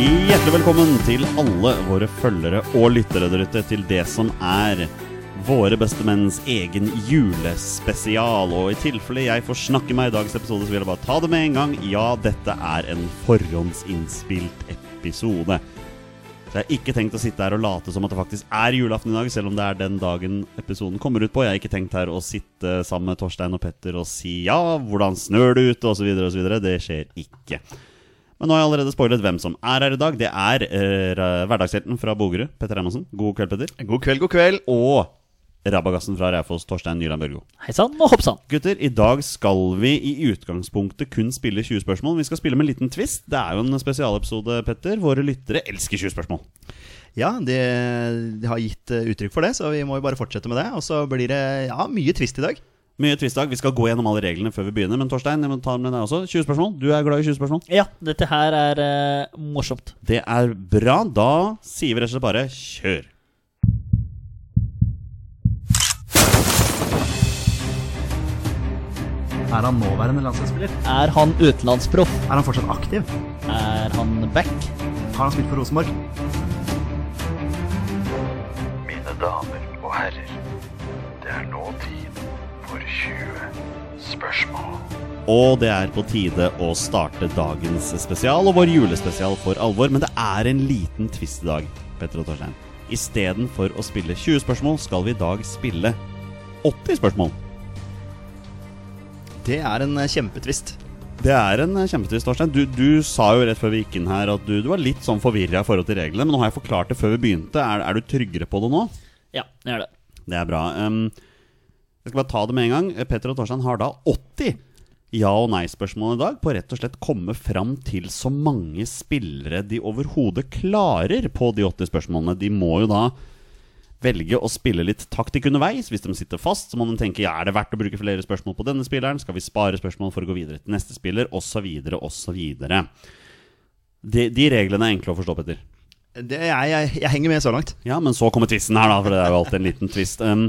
Hjertelig velkommen til alle våre følgere og lyttere der ute til det som er våre beste menns egen julespesial. Og i tilfelle jeg får snakke meg i dagens episode, så vil jeg bare ta det med en gang. Ja, dette er en forhåndsinnspilt episode. Så jeg har ikke tenkt å sitte her og late som at det faktisk er julaften i dag, selv om det er den dagen episoden kommer ut på. Jeg har ikke tenkt her å sitte sammen med Torstein og Petter og si ja, hvordan snør det ute, osv., osv. Det skjer ikke. Men nå har jeg allerede spoilet hvem som er her i dag. Det er eh, hverdagshelten fra Bogerud, Petter Hermansen. God kveld, Petter. God kveld, god kveld. Og rabagassen fra Raufoss, Torstein Nyland Børgo. Hei sann og hopp sann. Gutter, i dag skal vi i utgangspunktet kun spille 20 spørsmål. Vi skal spille med en liten twist. Det er jo en spesialepisode, Petter. Våre lyttere elsker 20 spørsmål. Ja, de, de har gitt eh, uttrykk for det, så vi må jo bare fortsette med det. Og så blir det ja, mye trist i dag. Mye twistdag. Vi skal gå gjennom alle reglene før vi begynner. Men Torstein, jeg må ta med deg også. 20 spørsmål. Du er glad i 20 spørsmål? Ja, dette her er eh, morsomt. Det er bra. Da sier vi rett og slett bare kjør. Er han nåværende landslagsspiller? Er han utenlandsproff? Er han fortsatt aktiv? Er han back? Har han spilt for Rosenborg? Mine damer og herrer, det er nå tid for 20 spørsmål. Og det er på tide å starte dagens spesial og vår julespesial for alvor. Men det er en liten twist i dag, Petter og Torstein. Istedenfor å spille 20 spørsmål, skal vi i dag spille 80 spørsmål. Det er en eh, kjempetrist. Det er en eh, kjempetrist, Torstein. Du, du sa jo rett før vi gikk inn her at du, du var litt sånn forvirra i forhold til reglene, men nå har jeg forklart det før vi begynte. Er, er du tryggere på det nå? Ja, det er det. Det er bra. Ehm, jeg skal bare ta det med en gang. Petter og Torstein har da 80 ja- og nei-spørsmål i dag på rett og slett komme fram til så mange spillere de overhodet klarer på de 80 spørsmålene. De må jo da velge å spille litt taktikk underveis. Hvis de sitter fast, så må de tenke ja, er det verdt å bruke flere spørsmål på denne spilleren. Skal vi spare spørsmål for å gå videre til neste spiller, osv., osv. De, de reglene er enkle å forstå, Petter. Det, jeg, jeg, jeg henger med så langt. Ja, men så kommer tvisten her, da, for det er jo alltid en liten tvist. Um,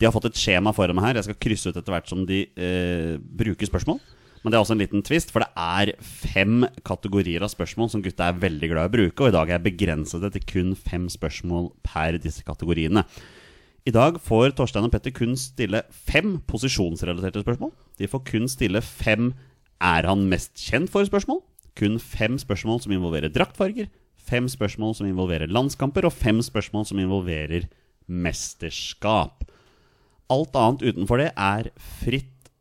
de har fått et skjema foran meg her. Jeg skal krysse ut etter hvert som de eh, bruker spørsmål. Men det er også en liten tvist, for det er fem kategorier av spørsmål som gutta er veldig glad i å bruke, og i dag er jeg begrenset det til kun fem spørsmål per disse kategoriene. I dag får Torstein og Petter kun stille fem posisjonsrelaterte spørsmål. De får kun stille fem 'er han mest kjent for?'-spørsmål. Kun fem spørsmål som involverer draktfarger, fem spørsmål som involverer landskamper, og fem spørsmål som involverer mesterskap. Alt annet utenfor det er fritt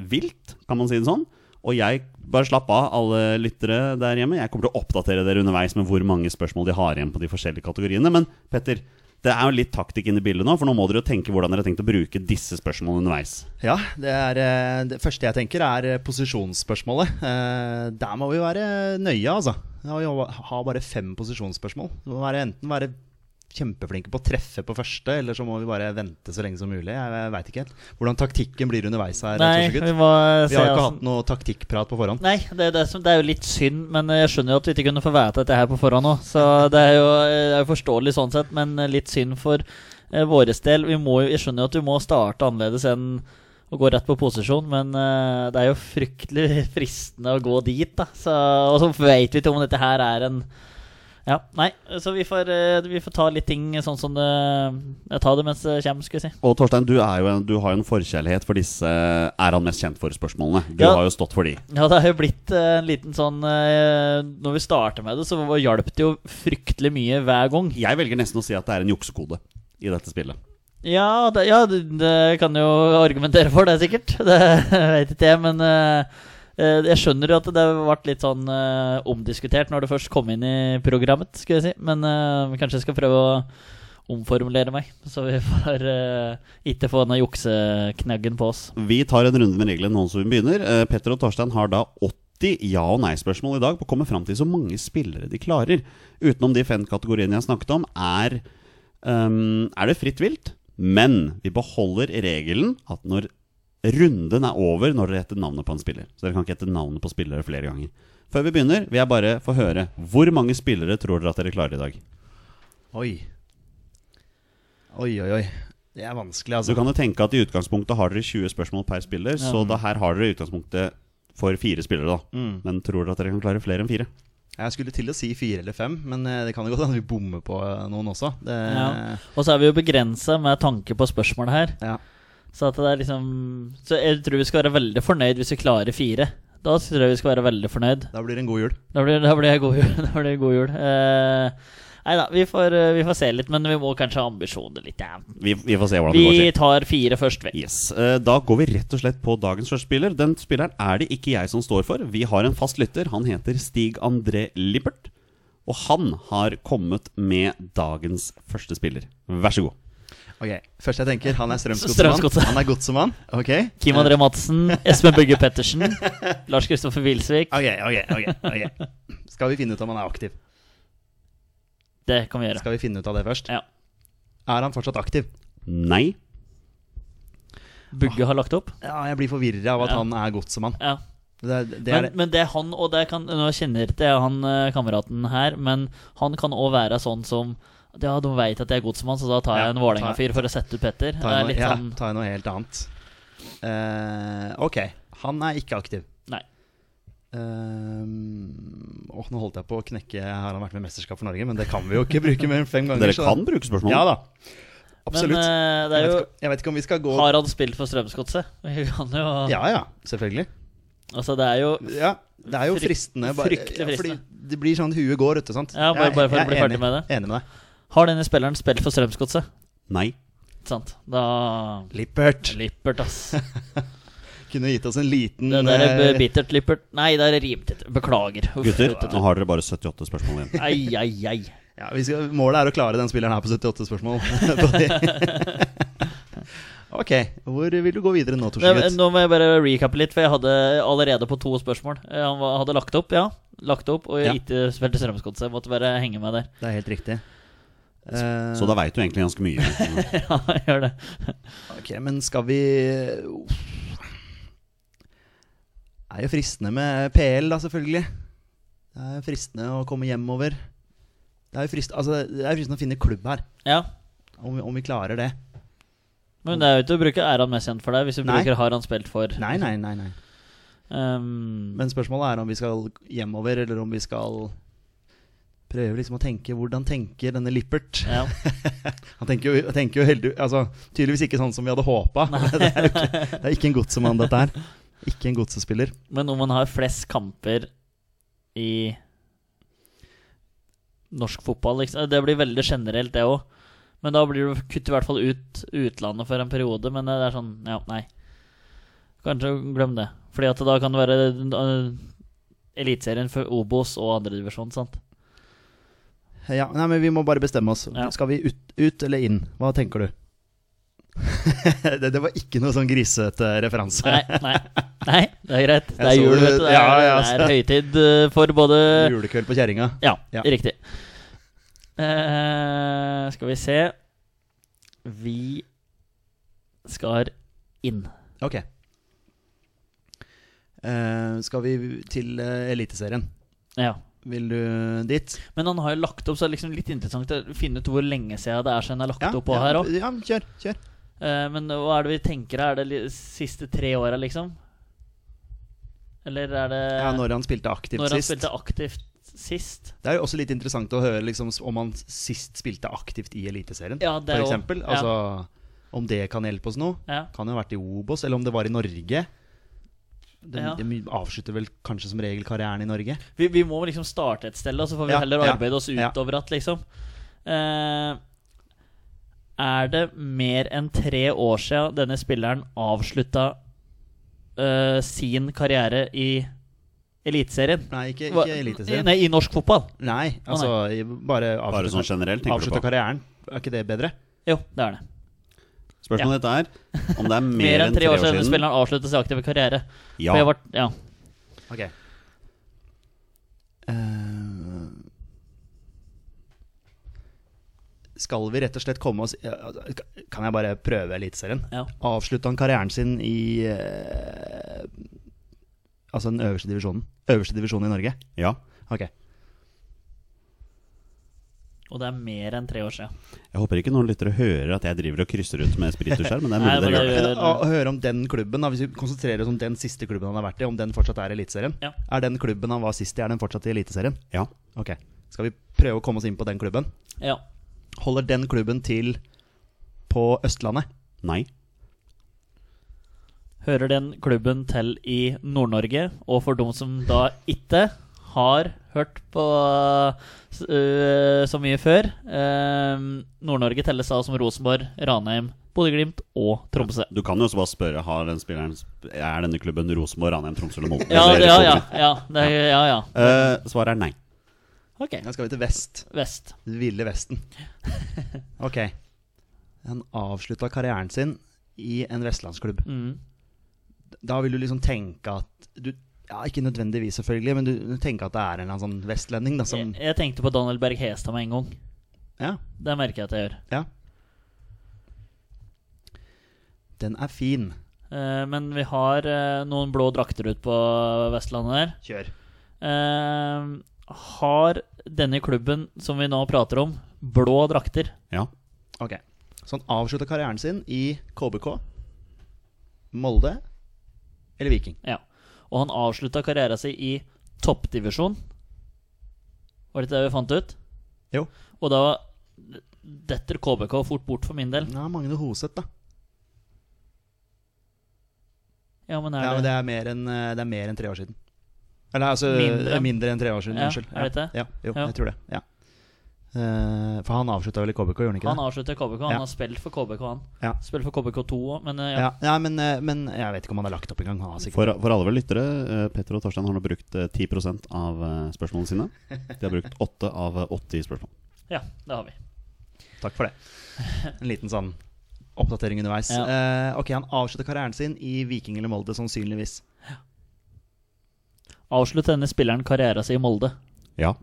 vilt, kan man si det sånn. Og jeg bare slapp av, alle lyttere der hjemme. Jeg kommer til å oppdatere dere underveis med hvor mange spørsmål de har igjen på de forskjellige kategoriene. Men Petter, det er jo litt taktikk inn i bildet nå, for nå må dere jo tenke hvordan dere har tenkt å bruke disse spørsmålene underveis. Ja, det, er, eh, det første jeg tenker, er eh, posisjonsspørsmålet. Eh, Der må vi være nøye, altså. Ja, Vi må ha bare fem posisjonsspørsmål. Vi må være, enten være kjempeflinke på å treffe på første, eller så må vi bare vente så lenge som mulig. Jeg, jeg veit ikke helt hvordan taktikken blir underveis her. Nei, Torsegutt. vi må Vi se har jo ikke hvordan- hatt noe taktikkprat på forhånd. Nei, det, er det, som, det er jo litt synd, men jeg skjønner jo at vi ikke kunne få vite dette her på forhånd òg. Så det er, jo, det er jo forståelig sånn sett, men litt synd for eh, våres del. Vi må, jo- jeg skjønner jo at du må starte annerledes enn å gå rett på posisjon, men eh, det er jo fryktelig fristende å gå dit, da. Så, og så veit vi ikke om dette her er en ja, nei, så vi får, eh, vi får ta litt ting sånn som det jeg tar det mens det kommer, skulle jeg si. Og Torstein, du, er jo en, du har jo en forkjærlighet for disse 'er han mest kjent for?'-spørsmålene. Du Ja. har jo stått for de. Ja, det har jo blitt eh, en liten sånn eh, Når vi startet med det, så hjalp det jo fryktelig mye hver gang. Jeg velger nesten å si at det er en juksekode i dette spillet. Ja, det, ja, det- det kan jeg jo argumentere for, det er sikkert. Det vet ikke jeg, men eh, eh, jeg skjønner jo at det ble litt sånn eh, omdiskutert når det først kom inn i programmet, skulle jeg si. Men eh, kanskje jeg skal prøve å omformulere meg, så vi får eh, ikke få denne jukseknaggen på oss. Vi tar en runde med reglene nå som vi begynner. Eh, Petter og Torstein har da 80 ja- og nei-spørsmål i dag på å komme fram til så mange spillere de klarer. Utenom de fem kategoriene jeg har snakket om, er, ehm, er det fritt vilt. Men vi beholder regelen at når runden er over, når dere heter navnet på en spiller. Så dere kan ikke hete navnet på spillere flere ganger. Før vi begynner, vil jeg bare få høre hvor mange spillere tror dere at dere klarer i dag? Oi. Oi, oi, oi. Det er vanskelig, Så altså. du kan jo tenke at i utgangspunktet har dere 20 spørsmål per spiller, Mm. så da her har dere i utgangspunktet for fire spillere, da. Men tror dere at dere kan klare flere enn fire? Jeg skulle til å si fire eller fem, men eh, det kan jo godt hende vi bommer på eh, noen også. Det, Ja. Og så er vi jo begrensa med tanke på spørsmålet her. Ja. Så, at det er liksom, så jeg tror vi skal være veldig fornøyd hvis vi klarer fire. Da tror jeg vi skal være veldig fornøyd. Da blir det en god jul. Da blir, da blir det god jul. Da blir det god jul. Eh, nei da, vi får, eh, vi får se litt, men vi må kanskje ha ambisjoner litt. Ja. Vi, vi får se hvordan det går. Vi til. tar fire først, vi. Yes, eh, Da går vi rett og slett på dagens første spiller. Den spilleren er det ikke jeg som står for. Vi har en fast lytter. Han heter Stig André Lippert. Og han har kommet med dagens første spiller. Vær så god. Ok, Først jeg tenker, han er Strømsgodset. strømsgodsemann. Han er godsemann. Ok. Kim André Madsen, Espen Bugge Pettersen, Lars Kristoffer Wilsvik. Ok, ok, ok, ok. Skal vi finne ut om han er aktiv? Det kan vi gjøre. Skal vi finne ut av det først? Ja. Er han fortsatt aktiv? Nei. Bugge har lagt opp. Ja, jeg blir forvirra av at Ja. han er godsemann. Ja. Det, det, det er Men, det. men det er han, og det kan Nå kjenner jeg ikke han eh, kameraten her, men han kan òg være sånn som Ja, de veit at jeg er godsmann, så da tar Ja, jeg en Vålerenga-fyr for å sette ut Petter. Det Ta i er noe, litt ja, sånn ta i noe helt annet. Eh, ok, han er ikke aktiv. Nei. Ehm, åh, nå holdt jeg på å knekke Har han vært med i mesterskap for Norge? Men det kan vi jo ikke bruke mer enn fem ganger. Dere så- kan bruke spørsmålet. Ja da. Men Absolutt. eh, det jeg, er vet jo ikke, jeg vet ikke om vi skal gå Har han spilt for Strømsgodset? Vi kan jo Ja ja, selvfølgelig. Altså, det er jo Ja, det er jo Frykt- fristende. bare- fryktelig ja, fordi fristende. det blir sånn huet går, vet du. Sant? Ja, bare- Jeg- bare for å jeg er bli ferdig enig- med Enig med deg. Har denne spilleren spilt for Strømsgodset? Nei. Ikke Sant. Da Lippert. Lippert, ass. Kunne gitt oss en liten Det der er eh, bittert, Lippert. Nei, det er rimt ikke. Beklager. Uff, Gutter, vet du. nå har dere bare 78 spørsmål igjen. Ai, ai, ai. Ja, vi skal, Målet er å klare den spilleren her på 78 spørsmål. På de- ok, hvor vil du gå videre nå, Nei, men Torsegutt? Nå må jeg bare recappe litt, for jeg hadde allerede på to spørsmål. Eh, Han var- hadde lagt opp, ja. Lagt opp, og Ja. ikke spilte Strømsgodset. Jeg Måtte bare henge meg der. Det er helt riktig. Så da veit du egentlig ganske mye. Ja, jeg gjør det. Ok, men skal vi Uff. Det er jo fristende med PL, da, selvfølgelig. Det er jo fristende å komme hjemover. Det er jo frist, altså, det er jo fristende å finne klubb her, Ja. om vi, om vi klarer det. Men det er jo ikke å bruke er han mest kjent for deg, hvis du Nei. bruker har han spilt for. Nei, nei, nei. nei Um, Men spørsmålet er om vi skal hjemover, eller om vi skal prøve liksom å tenke hvordan tenker denne Lippert? ja. Han tenker jo, tenker jo heldig, altså, tydeligvis ikke sånn som vi hadde håpa. det, er jo ikke- det er ikke en godsemann, dette her. Ikke en godsespiller. Men om han har flest kamper i norsk fotball, liksom. Det blir veldig generelt, det òg. Men da blir du kutt i hvert fall ut utlandet for en periode, men det er sånn Ja, nei. Kanskje glem det. Fordi at da kan det være uh, Eliteserien for Obos og andredivisjon, sant? Ja, nei, men Vi må bare bestemme oss. Ja. Skal vi ut, ut eller inn? Hva tenker du? det, det var ikke noe sånn grisete referanse. Nei, nei. nei det er greit. Det er Jeg så jul, det- vet du. Det er, ja, ja, det er høytid uh, for både Julekveld på kjerringa. Ja, Ja. riktig. Eh, skal vi se Vi skal inn. Ok. Eh, skal vi til eh, Eliteserien? Ja. Vil du dit? Men han har jo lagt opp, så det er liksom litt interessant å finne ut hvor lenge siden det er siden han har lagt opp på her òg. ja, kjør. kjør men hva er det vi tenker her? Er det li- siste tre åra, liksom? Eller er det ja, Når han spilte aktivt Eh, når han sist. spilte aktivt sist? Det er jo også litt interessant å høre liksom, om han sist spilte aktivt i Eliteserien. Ja, det for også. eksempel. Ja. Altså, om det kan hjelpe oss noe. Ja. Kan jo ha vært i Obos, eller om det var i Norge. De, Ja. de avslutter vel kanskje som regel karrieren i Norge. Vi, vi må liksom starte et sted, da, så får vi Ja, heller ja, arbeide oss ja. utover at, liksom. Eh, er det mer enn tre år siden denne spilleren avslutta eh, sin karriere i Eliteserien? Nei, ikke, Hva- ikke Eliteserien. Nei, Nei, i norsk fotball. altså i- bare Bare avslutte, sånn generelt, tenker du avslutte på. karrieren. Er ikke det bedre? Jo, det er det. Spørsmålet ditt er om det er Mer, enn tre år siden denne spilleren avslutta sin aktive karriere. Ja. For jeg var, ja. Ok. Eh, skal vi rett og slett komme oss altså, Kan jeg bare prøve Eliteserien? Ja. Avslutta han karrieren sin i eh, Altså den øverste divisjonen? Øverste divisjonen i Norge? Ja. Ok. Og det er mer enn tre år siden. Jeg håper ikke noen lyttere hører at jeg driver og krysser ut med spiritusskjerm, men det er Nei, mulig men dere det gjør det. gjør- Men, å, å høre om den klubben, da, hvis vi konsentrerer oss om den siste klubben han har vært i, om den fortsatt er i Eliteserien. Ja. Er den klubben han var sist i, er den fortsatt i Eliteserien? Ja. Ok, Skal vi prøve å komme oss inn på den klubben? Ja. Holder den klubben til på Østlandet? Nei. Hører den klubben til i Nord-Norge, og for dem som da ikke har hørt på s- øh, så mye før ehm, Nord-Norge telles da som Rosenborg, Ranheim, Bodø-Glimt og Tromsø. Du kan jo også bare spørre har den spilleren sp- Er denne klubben Rosenborg, Ranheim, Tromsø eller Molde. Ja, Eller ja, ja. Bodø? ja, det, er- ja, ja. Eh, svaret er nei. Ok. Da skal vi til vest. Vest. Ville Vesten. Ok. Han avslutta karrieren sin i en vestlandsklubb. Mm. Da vil du liksom tenke at du, ja, Ikke nødvendigvis, selvfølgelig, men du du tenker at det er en eller annen sånn vestlending da, som Jeg, jeg tenkte på Daniel Berg Hestad med en gang. Ja. Det merker jeg at jeg gjør. ja. Den er fin. Eh, men vi har eh, noen blå drakter ut på Vestlandet der. Kjør. Eh, har denne klubben som vi nå prater om, blå drakter? Ja. Ok. Så han avslutta karrieren sin i KBK, Molde eller Viking. Ja. Og han avslutta karrieren sin i toppdivisjon. Var det ikke det vi fant ut? Jo. Og da detter KBK fort bort for min del. Ja, Magne Hoseth, da. Ja, men er Ja, men det det er mer enn eh, Det er mer enn tre år siden. Eller altså mindre, Mindre. enn tre år siden. Ja, unnskyld. er det det? Ja, jo, Ja. jeg tror det. Ja. Eh, for han avslutta vel i KBK, gjorde han ikke Han det? avslutter KBK. Han Ja. har spilt for KBK, han. Ja. Spilt for KBK2 òg, men eh, Ja, ja. ja men, eh, men jeg vet ikke om han har lagt opp engang. Han har sikkert For, for alle våre lyttere, eh, Petter og Torstein har nå brukt eh, 10 av eh, spørsmålene sine. De har brukt 8 av eh, 80 spørsmål. ja, det har vi. Takk for det. En liten sånn oppdatering underveis. Ja. Eh, ok, Han avslutta karrieren sin i Viking eller Molde, sannsynligvis. Avslutter denne spilleren karrieren sin i Molde? Ja.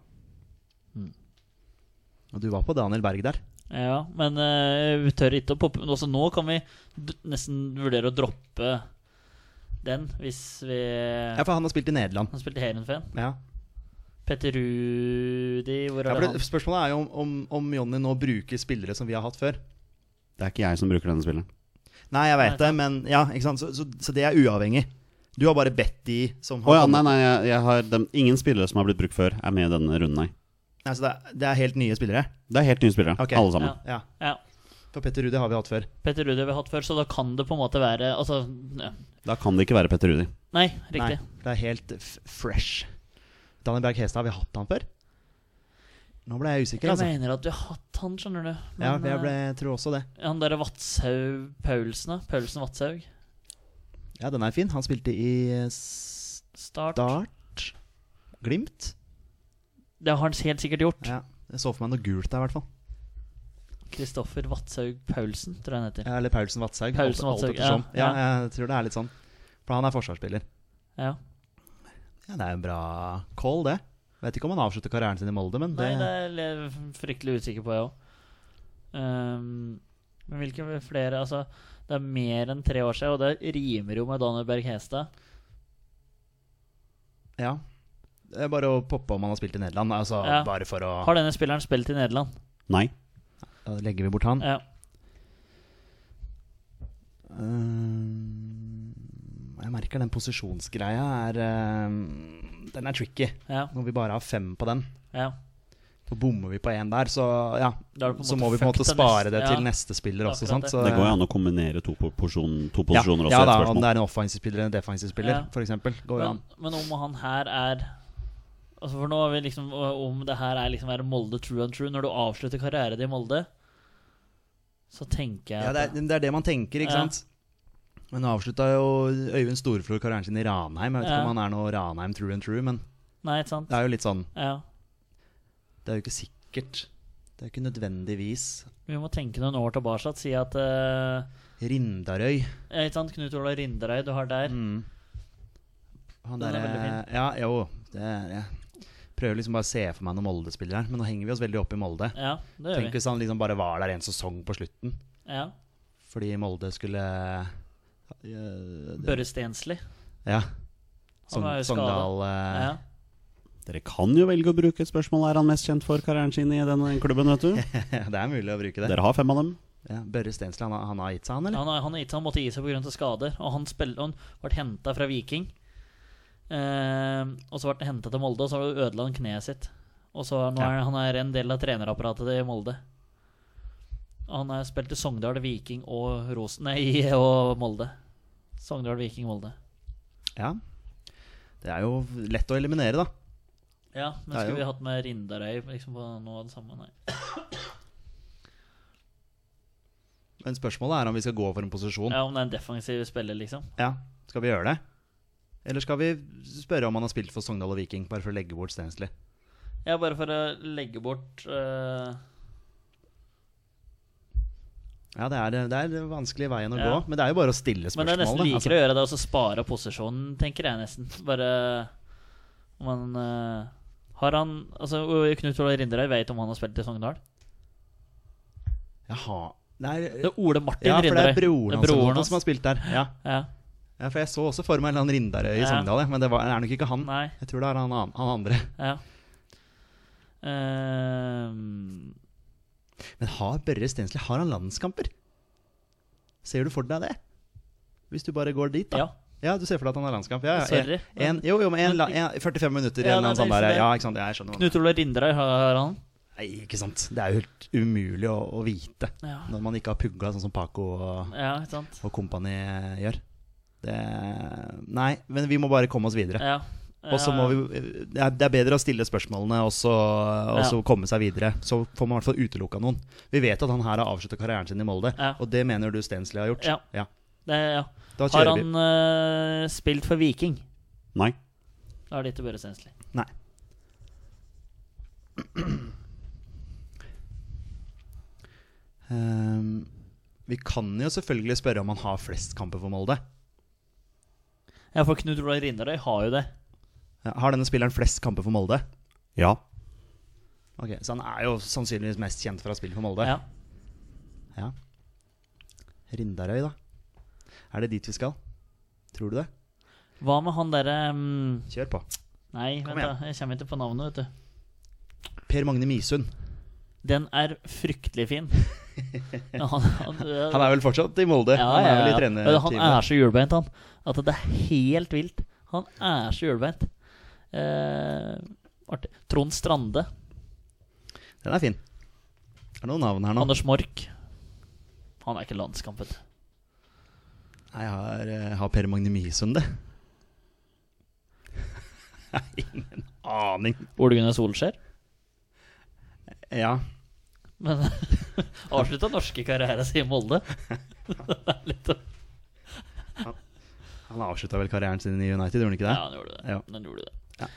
Og du var på Daniel Berg der. Mm. Ja, men eh, vi tør ikke å poppe men Også nå kan vi d nesten vurdere å droppe den, hvis vi Ja, for han har spilt i Nederland. Han spilte Heerenveen. Ja. Petter Rudi Hvor Ja, er for det, det han? spørsmålet er jo om, om, om Jonny nå bruker spillere som vi har hatt før. Det er ikke jeg som bruker denne spilleren. Nei, jeg vet Nei, det, men ja, ikke sant? Så, så, så det er uavhengig. Du har bare bedt de som Å har ja, nei, kommet- nei, jeg, jeg har dem, ingen spillere som har blitt brukt før, er med i denne runden, nei. Nei, så det er, det er helt nye spillere. Det er helt nye spillere, Ok. alle sammen. Ja. Ja. For Petter Rudi har vi hatt før. Petter Rudi har vi hatt før, så da kan det på en måte være Altså ja. Da kan det ikke være Petter Rudi. Nei, riktig. Nei, det er helt f fresh. Daniel Berg Hestad, har vi hatt han før? Nå ble jeg usikker, Jeg altså. mener at vi har hatt han, skjønner du. Ja, for jeg eh, ble, tror også det. Han derre Vatshaug Paulsen, da. Paulsen Vatshaug. Ja, den er fin. Han spilte i eh, Start Start. Glimt. Det har han helt sikkert gjort. Ja. Jeg så for meg noe gult der, i hvert fall. Kristoffer Vatshaug Paulsen, tror jeg han heter. Ja, eller Paulsen Vatshaug. Paulsen Vatshaug, ja, ja, ja. jeg tror det er litt sånn. For han er forsvarsspiller. Ja. Ja, Det er en bra call, det. Vet ikke om han avslutter karrieren sin i Molde, men det, Nei, det er jeg fryktelig usikker på, jeg òg. Ehm, men hvilke flere Altså, det er mer enn tre år siden, og det rimer jo med Daniel Berg Hestad. Ja. Det er bare å poppe om han har spilt i Nederland. Altså, Ja. Bare for å Har denne spilleren spilt i Nederland? Nei. Da legger vi bort han. Ja. Eh, jeg merker den posisjonsgreia er eh, Den er tricky. Ja. Når vi bare har fem på den, ja. så bommer vi på én der, så ja. Da er det på en Så måte må vi på en måte fucked av spare neste- det til ja. neste spiller også, Akkurat sant. det. Så, Det går jo an å kombinere to, porsjon, to ja, posisjoner også, ja i et da, om spørsmål. det er en offensiv spiller eller en defensiv spiller, Ja. for eksempel. Går jo Men, an. men om han her er Altså For nå er vi liksom Om det her er liksom er Molde true and true Når du avslutter karrieren din i Molde, så tenker jeg Ja, det at- er, det er det man tenker, ikke Ja. sant? Men nå avslutta jo Øyvind Storflor karrieren sin i Ranheim. Jeg vet Ja. ikke om han er noe Ranheim true and true, men Nei, ikke sant? det er jo litt sånn Ja. Det er jo ikke sikkert. Det er jo ikke nødvendigvis Vi må tenke noen år tilbake og si at eh, Rindarøy. ja, Ikke sant? Knut Olav Rinderøy du har der. Mm. Han Den er derre veldig Ja, jo. Det er, jeg prøver liksom bare å se for meg noen Molde-spillere her, men nå henger vi oss veldig opp i Molde. Ja, det gjør Tenk hvis han liksom bare var der en sesong på slutten, vi. Ja. fordi Molde skulle Børre Stensli. Ja. Han var Sogn- jo skadet. Sogndal eh, Ja. Dere kan jo velge å bruke et spørsmål er han mest kjent for karrieren sin i denne klubben, vet du. det er mulig å bruke det. Dere har fem av dem. Ja, Børre Stensland, han, han har gitt seg, han, eller? Han, har- han, har gitt seg, han måtte gi seg pga. skader, og han, spill, han ble henta fra Viking. Eh, og så ble han henta til Molde, og så ødela han kneet sitt. Og så er- nå er han er en del av trenerapparatet i Molde. Han har spilt i Sogndal, Viking og Rosen Nei, og Molde. Sogndal, Viking, Molde. Ja. Det er jo lett å eliminere, da. Ja, Det men er skulle vi jo- hatt med Rindarøy liksom, på noe av det samme? Nei. Men spørsmålet er om vi skal gå for en posisjon. Ja. Ja, om det er en defensiv spiller, liksom. Skal vi gjøre det? Eller skal vi spørre om han har spilt for Sogndal og Viking, bare for å legge bort Stensli? Ja, bare for å legge bort eh, Ja, det er, det er den vanskelige veien å Ja. gå, men det er jo bare å stille Men spørsmål. det er nesten da. likere Altså, å gjøre det og så spare posisjonen, tenker jeg nesten. Bare om han eh, Har han Altså, ø, Knut Olav Rinderøy vet om han har spilt i Sogndal? Altså, Jaha. Det er, Det er Ole Martin ja, for det Rinderøy. er broren Det hans eller er noe broren hans. som har spilt der. Ja. Ja. ja, For jeg så også for meg en eller annen Rindarøy i Ja. Sogndal, jeg, men det var, er nok ikke han. Nei. Jeg tror det er han, an- han andre. Ja. Ehm, Men har Børre Stensli har han landskamper? Ser du for deg det? Hvis du bare går dit, da. ja. Ja, du ser for deg at han har landskamp? Ja, ja. Sorry, En, men- jo, jo, men en, la- men- en, 45 minutter i Ja, en eller annen nei, sånn det er der. ikke Ja, ikke sant. Ja, jeg skjønner. hva- Knut Olav Rinderøy, har han? Nei, ikke sant. Det er jo helt umulig å, å vite Ja. når man ikke har pugga sånn som Paco og, ja, ikke sant? og company gjør. Det, nei, men vi må bare komme oss videre. Ja. Eh, Og så må vi, det er det er bedre å stille spørsmålene og så, og så Ja. komme seg videre. Så får man i hvert fall utelukka noen. Vi vet at han her har avslutta karrieren sin i Molde, Ja. og det mener du Stensli har gjort. Ja. det, ja. Da Har kjører han eh, spilt for Viking? Nei. Da er det ikke Børre Stensli. vi. Nei. Ehm, vi kan jo selvfølgelig spørre om han har flest kamper for Molde. Ja, for Knut Olav Rinderøy har jo det. Ja, Har denne spilleren flest kamper for Molde? Ja. Ok, Så han er jo sannsynligvis mest kjent for å ha spilt for Molde. Ja. Ja. Rindarøy, da. Er det dit vi skal? Tror du det? Hva med han derre mm, Kjør på. Nei, Kom vent da, jeg kommer ikke på navnet, vet du. Per Magne Misund. Den er fryktelig fin. Men han, han, øh, Han er vel fortsatt i Molde? ja, han er vel i ja, ja. Men han trenerteamet. er så hjulbeint, han. At det er helt vilt. Han er så hjulbeint. Eh, artig. Trond Strande. Den er fin. Er det noen navn her nå? Anders Mork. Han er ikke landskamp, vet du. Nei, jeg har, eh, har Per Magne Misund det? Ingen aning. Ole Gunnar Solskjær. Ja. Men avslutta norske karrieren sin i Molde. Det er litt å- Han avslutta vel karrieren sin i United, gjorde han ikke det? Ja, han gjorde det. Ja. Han gjorde det.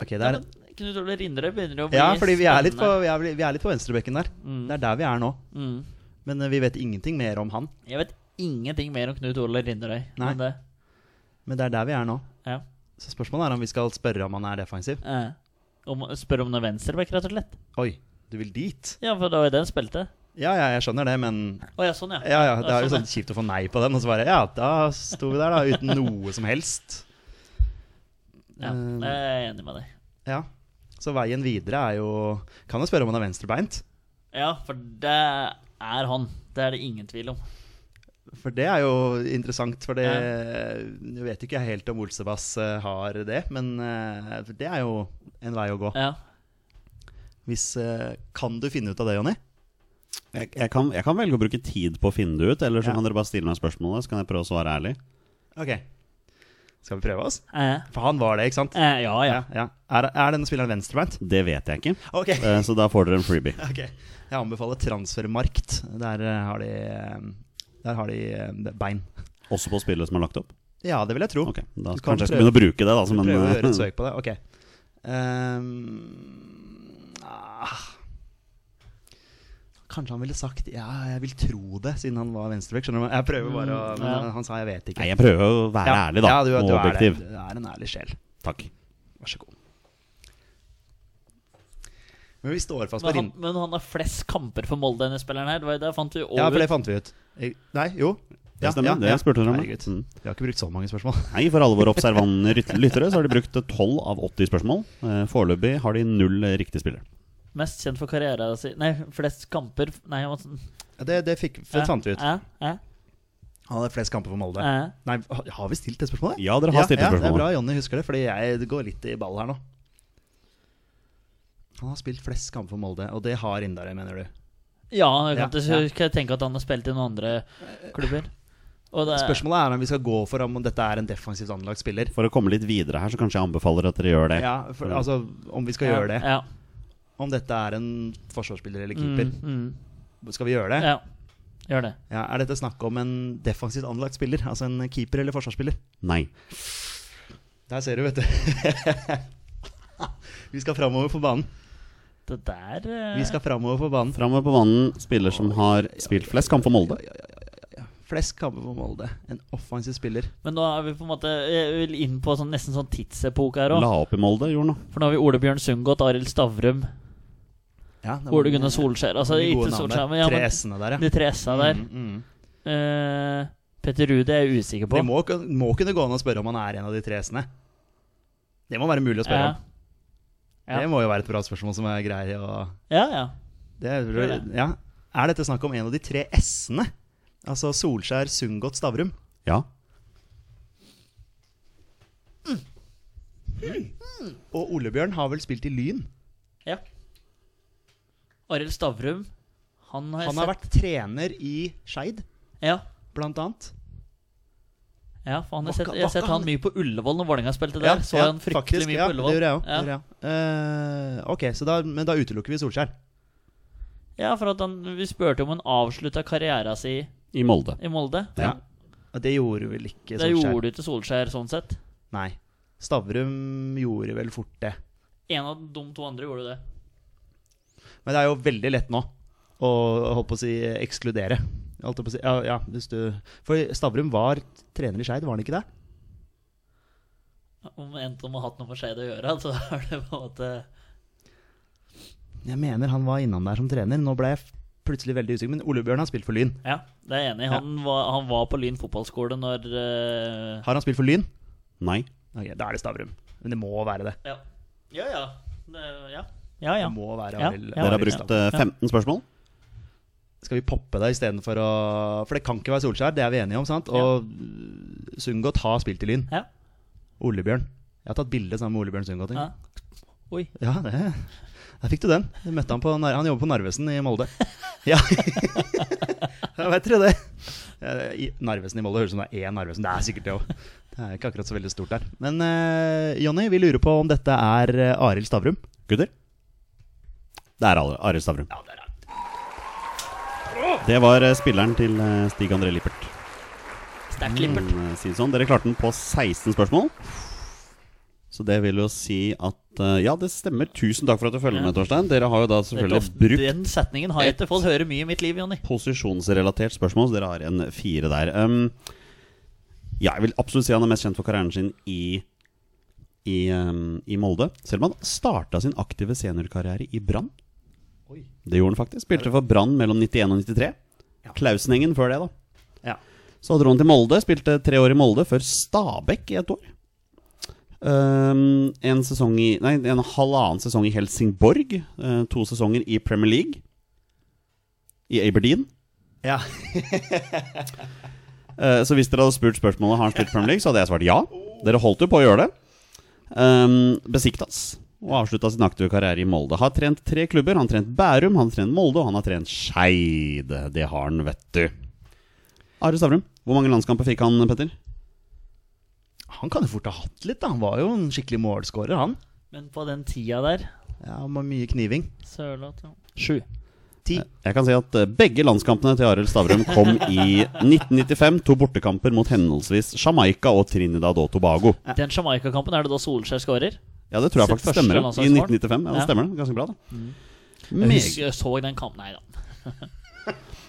Ok, det er, Ja, men Knut Ole Rinderød begynner jo å bli ja, fordi vi er litt på, spennende. vi er, vi er litt på venstrebekken der. Mm. Det er der vi er nå. Mm. Men eh, vi vet ingenting mer om han. Jeg vet ingenting mer om Knut Olav Rinderøy. Nei. enn det. Men det er der vi er nå. Ja. Så spørsmålet er om vi skal spørre om han er defensiv. Eh. Om, spør om det er venstreback, rett og slett. Oi, du vil dit? Ja, for det var jo det han spilte. Ja, ja, jeg skjønner det, men Å ja, sånn, ja. Ja, ja, det er jo sånn, sånn kjipt å få nei på den, og så bare Ja, da sto vi der, da, uten noe som helst. Eh, ja. Jeg er enig med deg. Ja. Så veien videre er jo Kan jo spørre om han er venstrebeint, Ja, for det er han. Det er det ingen tvil om. for det er jo interessant, for det Ja. Nå vet ikke jeg helt om Olsebass eh, har det, men eh, for det er jo en vei å gå. Ja. Hvis eh, Kan du finne ut av det, Jonny? Jeg, jeg, kan, jeg kan velge å bruke tid på å finne det ut, eller så Ja. kan dere bare stille meg spørsmålet, så kan jeg prøve å svare ærlig. Ok. Skal vi prøve oss? Eh. For han var det, ikke sant? Eh, ja, ja. Ja, ja. Er, er denne spilleren venstrebeint? Det vet jeg ikke, Ok. eh, så da får dere en freebie. Ok, Jeg anbefaler transfermarkt. Der eh, har de, eh, der har de eh, bein. Også på spillet som er lagt opp? Ja, det vil jeg tro. Ok, da Du kan Kanskje jeg skal begynne å bruke det, da. Som en, Prøve å gjøre et søk på det. Ok. Ehm, ah. Kanskje han ville sagt 'ja, jeg vil tro det', siden han var venstrebekk. Skjønner du? Jeg prøver bare å Mm, Men ja. han- han sa 'jeg vet ikke'. Nei, jeg prøver å være Ja. ærlig, da. Ja, du, og du er det. objektiv. Du er en ærlig sjel. Takk. Vær så god. Men vi står fast på Men han, Rind... men han har flest kamper for Molde, denne spilleren her. Det var jo det fant vi Ja, for over. det fant vi ut. Jeg- Nei, jo. Det stemmer. det jeg spurte dere om. Herregud. Mm. Vi har ikke brukt så mange spørsmål. Nei, for alle våre observante ryt- lyttere så har de brukt 12 av 80 spørsmål. Eh, Foreløpig har de null eh, riktige spillere. Mest kjent for karriera si Nei, flest kamper Nei, sånn- jeg måtte, Det, det fikk, det fant vi ut. Æ, æ, Han hadde flest kamper for Molde. æ. Nei, ha- har vi stilt det spørsmålet? Ja, dere har stilt det ja, Det er bra spørsmålet. Jonny husker det, fordi jeg det går litt i ball her nå. Han har spilt flest kamper for Molde, og det har Inderøy, mener du? Ja, jeg Ja, kan, ikke- ja. kan jeg tenke at han har spilt i noen andre klubber. Og det, Spørsmålet er om vi skal gå for om dette er en defensivt anlagt spiller. For å komme litt videre her, så kanskje jeg anbefaler at dere gjør det. Ja, for, altså om vi skal ja, gjøre det. Ja. Om dette er en forsvarsspiller eller keeper. Mm, mm, Skal vi gjøre det? Ja. ja. Gjør det. Er dette snakk om en defensivt anlagt spiller? Altså en keeper eller forsvarsspiller? Nei. Der ser du, vet du. vi skal framover på banen. Det der eh, Vi skal framover på banen. Framover på banen, spiller som har spilt flest kamp for Molde. Flest kamper for Molde. En offensiv spiller. Men nå er vi på en måte jeg vil inn på sånn, nesten sånn tidsepoke her òg. La opp i Molde, gjorde han da. For nå har vi Ole Bjørn Sundgodt, Arild Stavrum, Ja, det var Ole mange- Gunnar Solskjær Altså mange gode navn ikke der. Solskjær, men, ja, Tre men S-ene der, ja. de tre S-a der. Mm, mm. Eh, Petter Rude er jeg usikker på. Det må, kun- må kunne gå an å spørre om han er en av de tre S-ene. Det må være mulig å spørre ja. om. ja. Det må jo være et bra spørsmål som er grei å ja, ja. det er, Det ja. er dette snakk om en av de tre S-ene? Altså Solskjær, Sundgodt, Stavrum? Ja. Og Olebjørn har vel spilt i Lyn? ja. Arild Stavrum, han har jeg Han har sett. vært trener i Skeid, Ja. blant annet. Ja, for han har Var sett, ikke- jeg har var sett ikke han han- mye på Ullevål når Vålerenga spilte der. så han fryktelig faktisk, mye ja, på Ullevål. Det gjorde jeg òg. Ja. Ja. Eh, ok, så da, men da utelukker vi Solskjær. Ja, for at han, vi spurte om han avslutta karriera si I Molde. i Molde. Ja. Og Det gjorde vel ikke Det Solskjær. gjorde du til Solskjær sånn sett. Nei. Stavrum gjorde vel fort det. En av de to andre gjorde det. Men det er jo veldig lett nå å holdt på å si ekskludere. Holdt på å si, ja, ja, hvis du For Stavrum var trener i Skeid, var han ikke det? Om enten de har hatt noe for Skeid å gjøre, så er det på en måte Jeg mener han var innom der som trener. Nå ble jeg f- plutselig veldig usikker. Men Ole Bjørn har spilt for Lyn. Ja, det er jeg enig i. Han, var- han var på Lyn fotballskole når eh, Har han spilt for Lyn? Nei. Ok, Da er det Stavrum. Men det må være det. Ja, ja. Ja, Det- ja. ja, ja. Det må være Ja, Arild- ja. Dere har Arild brukt Stavrum. eh, 15 spørsmål. Skal vi poppe det istedenfor å For det kan ikke være Solskjær, det er vi enige om, sant? Og Sundgodt har spilt i Lyn. ja. Ole Bjørn. Jeg har tatt bilde sammen med Ole Bjørn Sundgodt. en gang. ja. Oi. Ja, det Der fikk du den. Jeg møtte han, på, Nar- han jobber på Narvesen i Molde. Ja, jeg vet dere det. Eh, i- Narvesen i Molde høres ut som det er én Narvesen. Det er sikkert det òg. Det er ikke akkurat så veldig stort der. Men eh, Jonny, vi lurer på om dette er eh, Arild Stavrum. Gutter? Det er Are- Arild Stavrum. Det var eh, spilleren til eh, Stig André Lippert. Sterkt lippert. Mm, eh, si det sånn. Dere klarte den på 16 spørsmål. Så det vil jo si at eh, Ja, det stemmer. Tusen takk for at du følger med, Torstein. Dere har jo da Det er ikke selvfølgelig ofte- brukt Den setningen har jeg ikke fått høre mye i mitt liv, Jonny. posisjonsrelatert spørsmål, så dere har en fire der. Um, ja, jeg vil absolutt si han er mest kjent for karrieren sin i, i, um, i Molde. Selv om han starta sin aktive seniorkarriere i Brann. Det gjorde han faktisk. Spilte for Brann mellom 91 og 93. Klausenengen før det, da. Ja. Så dro han til Molde, spilte tre år i Molde, før Stabæk i et år. Um, en sesong i Nei, en halvannen sesong i Helsingborg. eh, to sesonger i Premier League. I Aberdeen. Ja. Eh, Så hvis dere hadde spurt spørsmålet Har han spilt Premier League, så hadde jeg svart ja. Dere holdt jo på å gjøre det. Um, Besiktas og avslutta sin aktive karriere i Molde. Har trent tre klubber. Han har trent Bærum, han har trent Molde, og han har trent Skeid. Det har han, vet du. Are Stavrum, hvor mange landskamper fikk han, Petter? Han kan jo fort ha hatt litt, da. Han var jo en skikkelig målskårer, han. Men på den tida der Ja, og Med mye kniving. Sørloth, ja. Sju. Ti. Jeg kan si at eh, begge landskampene til Arild Stavrum kom i 1995. To bortekamper mot henholdsvis Jamaica og Trinidad og Tobago. Den Jamaica-kampen, er det da Solskjær skårer? Ja, det tror jeg Sitt faktisk første stemmer. ja. I landslagsmål. 1995. Ja, det Ja. stemmer. det. Ganske bra, da. Jeg Meg- husker- jeg så den kampen Nei da.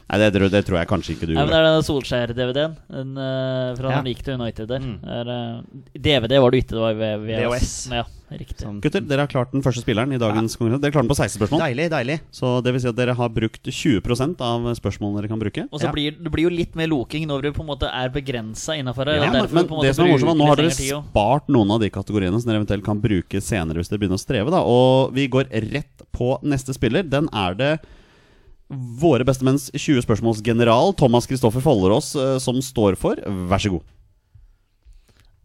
Nei, det, tror- det tror jeg kanskje ikke du Nei, men gjorde. det er den Solskjær-DVD-en den, eh, fra da Mm. Ja. han gikk til United der. Er, eh, DVD var det ikke, det var VVS. VHS. Ja. Riktig. Sånn. Gutter, dere har klart den første spilleren i dagens konkurranse. Dere klarte den på 16 spørsmål. Deilig, deilig. Så det vil si at dere har brukt 20 av spørsmålene dere kan bruke. Og så Ja. blir det blir jo litt mer loking når du på en måte er begrensa innafor her. Ja, og men, derfor men på en måte det som er morsomt, er at nå bruker har litt dere lengre tid også. spart noen av de kategoriene som dere eventuelt kan bruke senere hvis dere begynner å streve. Da. Og vi går rett på neste spiller. Den er det våre bestemenns 20 spørsmåls general Thomas Kristoffer Follerås eh, som står for. Vær så god.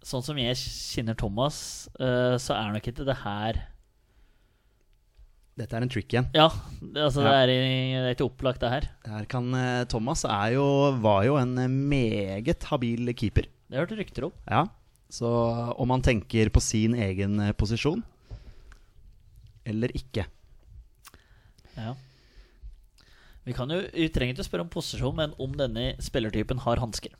Sånn som jeg kjenner Thomas, eh, så er nok ikke det her Dette er en trick igjen. Ja, det- altså Ja. Det, er, i- det er ikke opplagt, det her. Det Her kan eh, Thomas er jo, var jo en eh, meget habil keeper. Det har jeg hørt rykter om. Ja. Så om han tenker på sin egen eh, posisjon eller ikke. Ja. Vi, kan jo, vi trenger ikke å spørre om posisjon, men om denne spillertypen har hansker.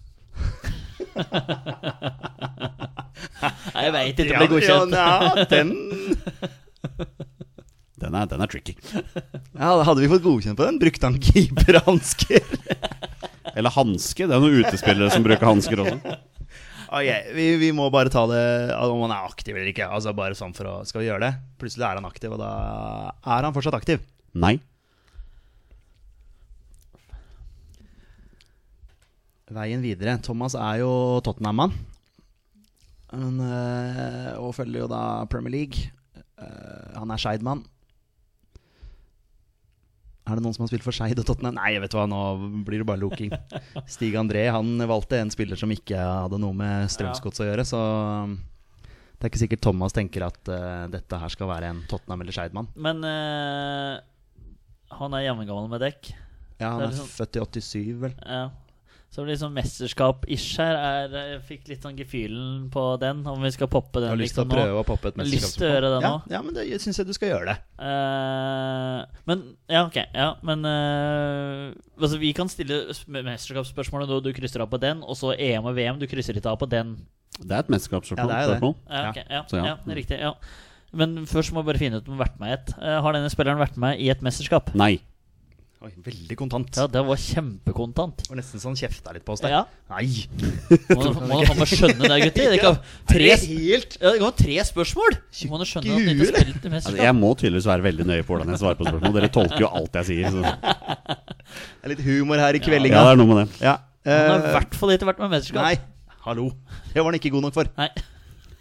Nei, jeg veit ikke. Det blir godkjent. Ja, ja, den Den er, den er tricky. ja, da Hadde vi fått godkjent på den, brukte han keeperhansker. Eller hanske. Det er noen utespillere som bruker hansker også. Ok, vi, vi må bare ta det altså, om han er aktiv eller ikke. Altså bare sånn for å, Skal vi gjøre det? Plutselig er han aktiv, og da er han fortsatt aktiv. Nei. Veien videre. Thomas er jo Tottenham-mann. Men, eh, Og følger jo da Premier League. Eh, han er Skeid-mann. Er det noen som har spilt for Skeid og Tottenham? Nei, vet du hva, nå blir det bare loking. Stig André han valgte en spiller som ikke hadde noe med Strømsgods å gjøre, så eh, det er ikke sikkert Thomas tenker at eh, dette her skal være en Tottenham- eller Skeid-mann. Men eh, han er jevngammel med dekk. Ja, han Det er er liksom- født i 87, vel. Ja. Så liksom mesterskap-ish her er Jeg fikk litt sånn gefühlen på den, om vi skal poppe den Jeg har lyst til liksom å nå. prøve å poppe et Jeg har lyst til å mesterskapsmål. gjøre det Ja, nå. ja, men det syns jeg du skal gjøre det. Eh, men Ja, ok. Ja, men eh, Altså, vi kan stille sp- mesterskapsspørsmålet nå. Du krysser av på den, og så EM og VM. Du krysser ikke av på den. Det er et Ja, mesterskapsspørsmål. det er jo det. spørsmål. Ja, Ja, ok, ja, så ja. ja. det er riktig. Ja. Men først må jeg bare finne ut om han har vært med i et. Eh, har denne spilleren vært med i et mesterskap? Nei. Oi, veldig kontant. Ja, det var kjempekontant. Det var nesten sånn kjefta litt på oss der. Ja. Nei! Må dere faen meg skjønne det, gutter? Det kan, tre, Det er ja, helt det kan være tre spørsmål! Så Må dere skjønne at dere Tjukke ikke har spilt i Altså, mesterskap? jeg må tydeligvis være veldig nøye på hvordan jeg svarer på spørsmål. Dere tolker jo alt jeg sier. Så. Det er litt humor her Ja, i kveldinga. det er noe med det. Ja. Han har i eh, hvert fall ikke vært med i mesterskap. nei. Hallo. Det var han ikke god nok for. Nei.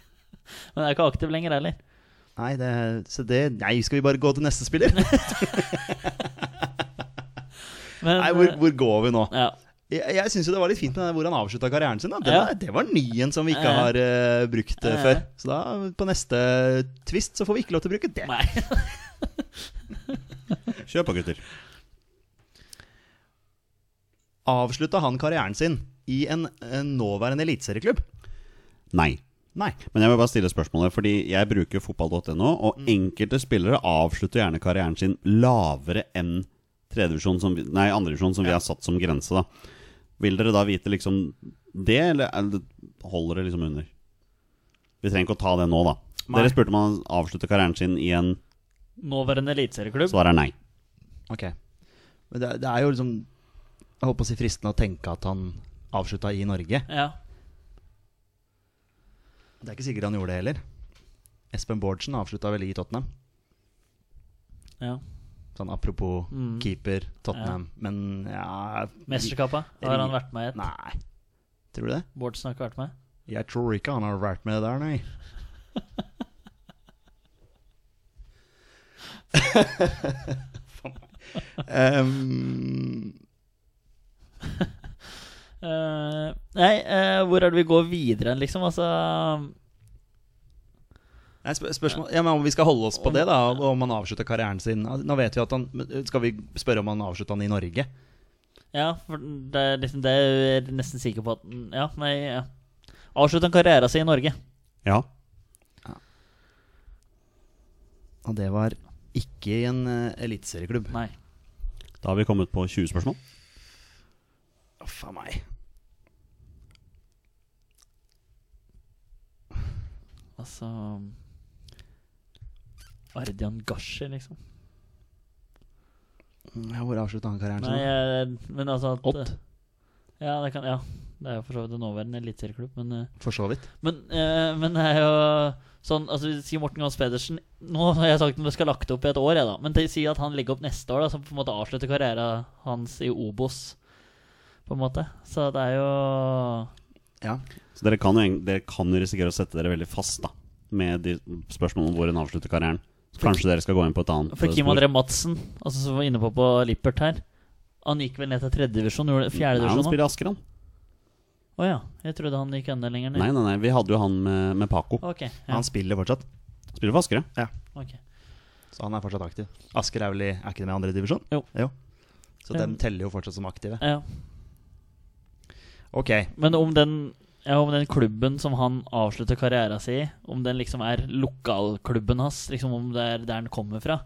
Men jeg er ikke aktiv lenger heller. Nei, det, så det Nei, skal vi bare gå til neste spiller? Nei, Men, Hvor, eh, hvor går vi nå? ja. Jeg, jeg syns jo det var litt fint med hvor han avslutta karrieren sin. Da. Det, Ja. var, det var en ny en som vi ikke Ja, ja. har eh, brukt eh, Ja, ja. før. Så da, på neste twist, så får vi ikke lov til å bruke det. Nei. Kjør på, gutter. Avslutta han karrieren sin i en, en nåværende eliteserieklubb? Nei. Nei. Men jeg vil bare stille spørsmålet, fordi jeg bruker fotball.no, og Mm. enkelte spillere avslutter gjerne karrieren sin lavere enn tredjevisjon, som, vi- nei, andredivisjon, som vi har satt som grense. da. Vil dere da vite liksom det, eller er det- holder det liksom under? Vi trenger ikke å ta det nå, da. Nei. Dere spurte om han avslutter karrieren sin i en Nåværende eliteserieklubb. Svaret er nei. Ok. Men det, det er jo liksom Jeg holdt på å si fristende å tenke at han avslutta i Norge. Ja. Det er ikke sikkert han gjorde det heller. Espen Bårdsen avslutta vel i Tottenham. ja. Sånn apropos Mm. keeper, Tottenham. Men ja Mesterskapet har han vært med i. et. Nei. Tror du det? Bårdsen har ikke vært med. Jeg tror ikke han har vært med der, nei. Faen meg. um, Eh, nei, eh, hvor er det vi går videre, liksom? Altså Nei, spør spørsmål ja, men Om vi skal holde oss på det, da og om han avslutter karrieren sin Al- Nå vet vi at han men eh, Skal vi spørre om han avslutta den i Norge? Ja, for det er liksom det er jeg nesten sikker på at Ja, nei ja. Avslutta karrieren sin i Norge. Ja. Og det var ikke i en uh, eliteserieklubb. Nei. Da har vi kommet på 20 spørsmål. Å, faen meg. Altså Ardian Gashi, liksom. Mm, Ja, hvor avslutta han karrieren sin? Nei, eh, men altså at, sånn? Odd, Ja, det eh, kan Ja. Det er jo for så vidt en nåværende eliteserieklubb, men eh, for så vidt. Men, eh, men det er jo Sånn, altså Si Morten Gahns Pedersen Nå har jeg sagt at det skal lagt opp i et år, jeg, da. Men te- si at han legger opp neste år, da, som på en måte avslutter karrieren hans i Obos. På en måte. Så det er jo Ja. Så dere kan, jo, eng- dere kan jo risikere å sette dere veldig fast da med de spørsmålene om hvor hun avslutter karrieren. Så Kanskje dere skal gå inn på et annet For eh, Kim spor. André Madsen, altså, som var inne på på Lippert her Han gikk vel ned til tredjedivisjon? Gjorde Nei, det han fjerdedivisjon? spiller i Asker, han. Å ja. Jeg trodde han gikk enda lenger ned. Nei, nei, nei. Vi hadde jo han med, med Paco. Ok. Ja, Han spiller fortsatt, Spiller for Asker, ja. ok. så han er fortsatt aktiv. Asker er vel i, er ikke det med andre divisjon? Jo. Så dem teller jo fortsatt som aktive. Ja. Ok, Men om den, ja, om den klubben som han avslutter karrieren sin i, om den liksom er lokalklubben hans, liksom om det er der den kommer fra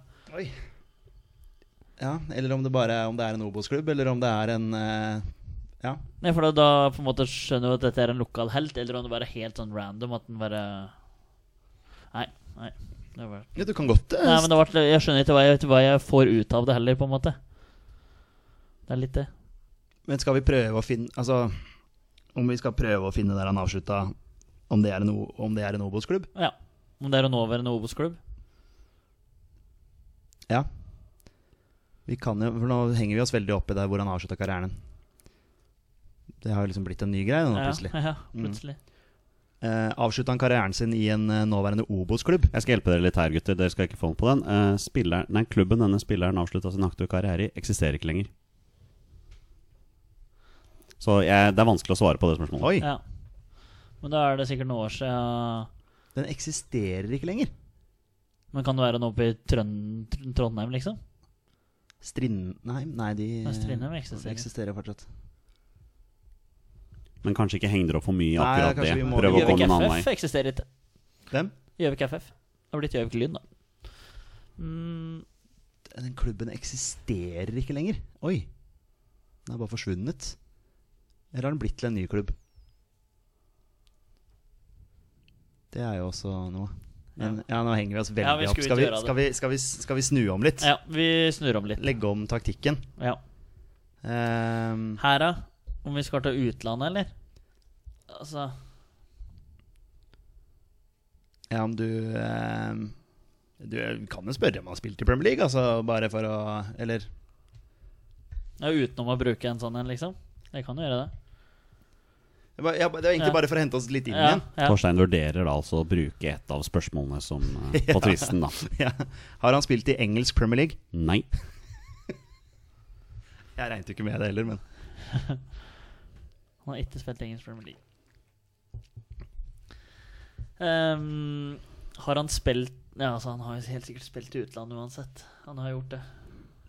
ja, eller om det bare om det er en Obos-klubb, eller om det er en eh, Ja. Nei, for da, da på en måte skjønner du at dette er en lokal helt, eller om det bare er helt sånn random at den bare Nei. nei det var... ja du kan godt eh, Nei, men det ble, jeg skjønner ikke hva jeg, hva jeg får ut av det heller, på en måte. Det er litt det. Men skal vi prøve å finne Altså, om vi skal prøve å finne der han avslutta, om det er en, O- om det er en Obos-klubb? Ja. Om det er en nåværende Obos-klubb? Ja. Vi kan jo, for nå henger vi oss veldig opp i det hvor han avslutta karrieren. Det har jo liksom blitt en ny greie nå, ja, plutselig. Mm. ja, plutselig. Eh, avslutta han karrieren sin i en eh, nåværende Obos-klubb? Jeg skal hjelpe dere litt her, gutter. Dere skal ikke få den på den. Eh, spilleren, nei, klubben denne spilleren avslutta sin aktive karriere i, eksisterer ikke lenger. Så jeg, det er vanskelig å svare på det spørsmålet. Oi! Ja. Men da er det sikkert noen år siden Den eksisterer ikke lenger. Men kan det være noe oppe i Trøn Tr- Trondheim, liksom? Strindheim Nei, de Nei, Strindheim eksisterer. fortsatt. Men kanskje ikke heng dere opp for mye i Nei, akkurat kanskje vi det. må- Prøv å Gjør vi komme Gjøvik en annen FF vei. eksisterer ikke. Hvem? Gjøvik FF. Det har blitt Gjøvik Lyn, da. Mm, Den klubben eksisterer ikke lenger. Oi. Den er bare forsvunnet. Eller har den blitt til en ny klubb? Det er jo også noe. Men ja, nå henger vi oss veldig Ja, vi opp. skulle Skal vi, ikke gjøre det. skal, vi, skal, vi, skal vi snu om litt? ja, vi snur om litt. Legge om taktikken? Ja. Ehm, Her, da? Om vi skal til utlandet, eller? Altså ja, om du ehm, Du kan jo spørre om han har spilt i Premier League, altså, bare for å Eller ja, Utenom å bruke en sånn en, liksom? Jeg kan jo gjøre det. Det var ja, det var egentlig Ja. bare for å hente oss litt inn Ja, igjen. ja. Torstein vurderer da altså å bruke et av spørsmålene som, eh, på tvisten, da. Ja. Har han spilt i engelsk Premier League? Nei. Jeg regnet jo ikke med det heller, men Han har ikke spilt engelsk Premier League. Ehm, har han spilt Ja, altså, han har jo helt sikkert spilt i utlandet uansett. Han har gjort det.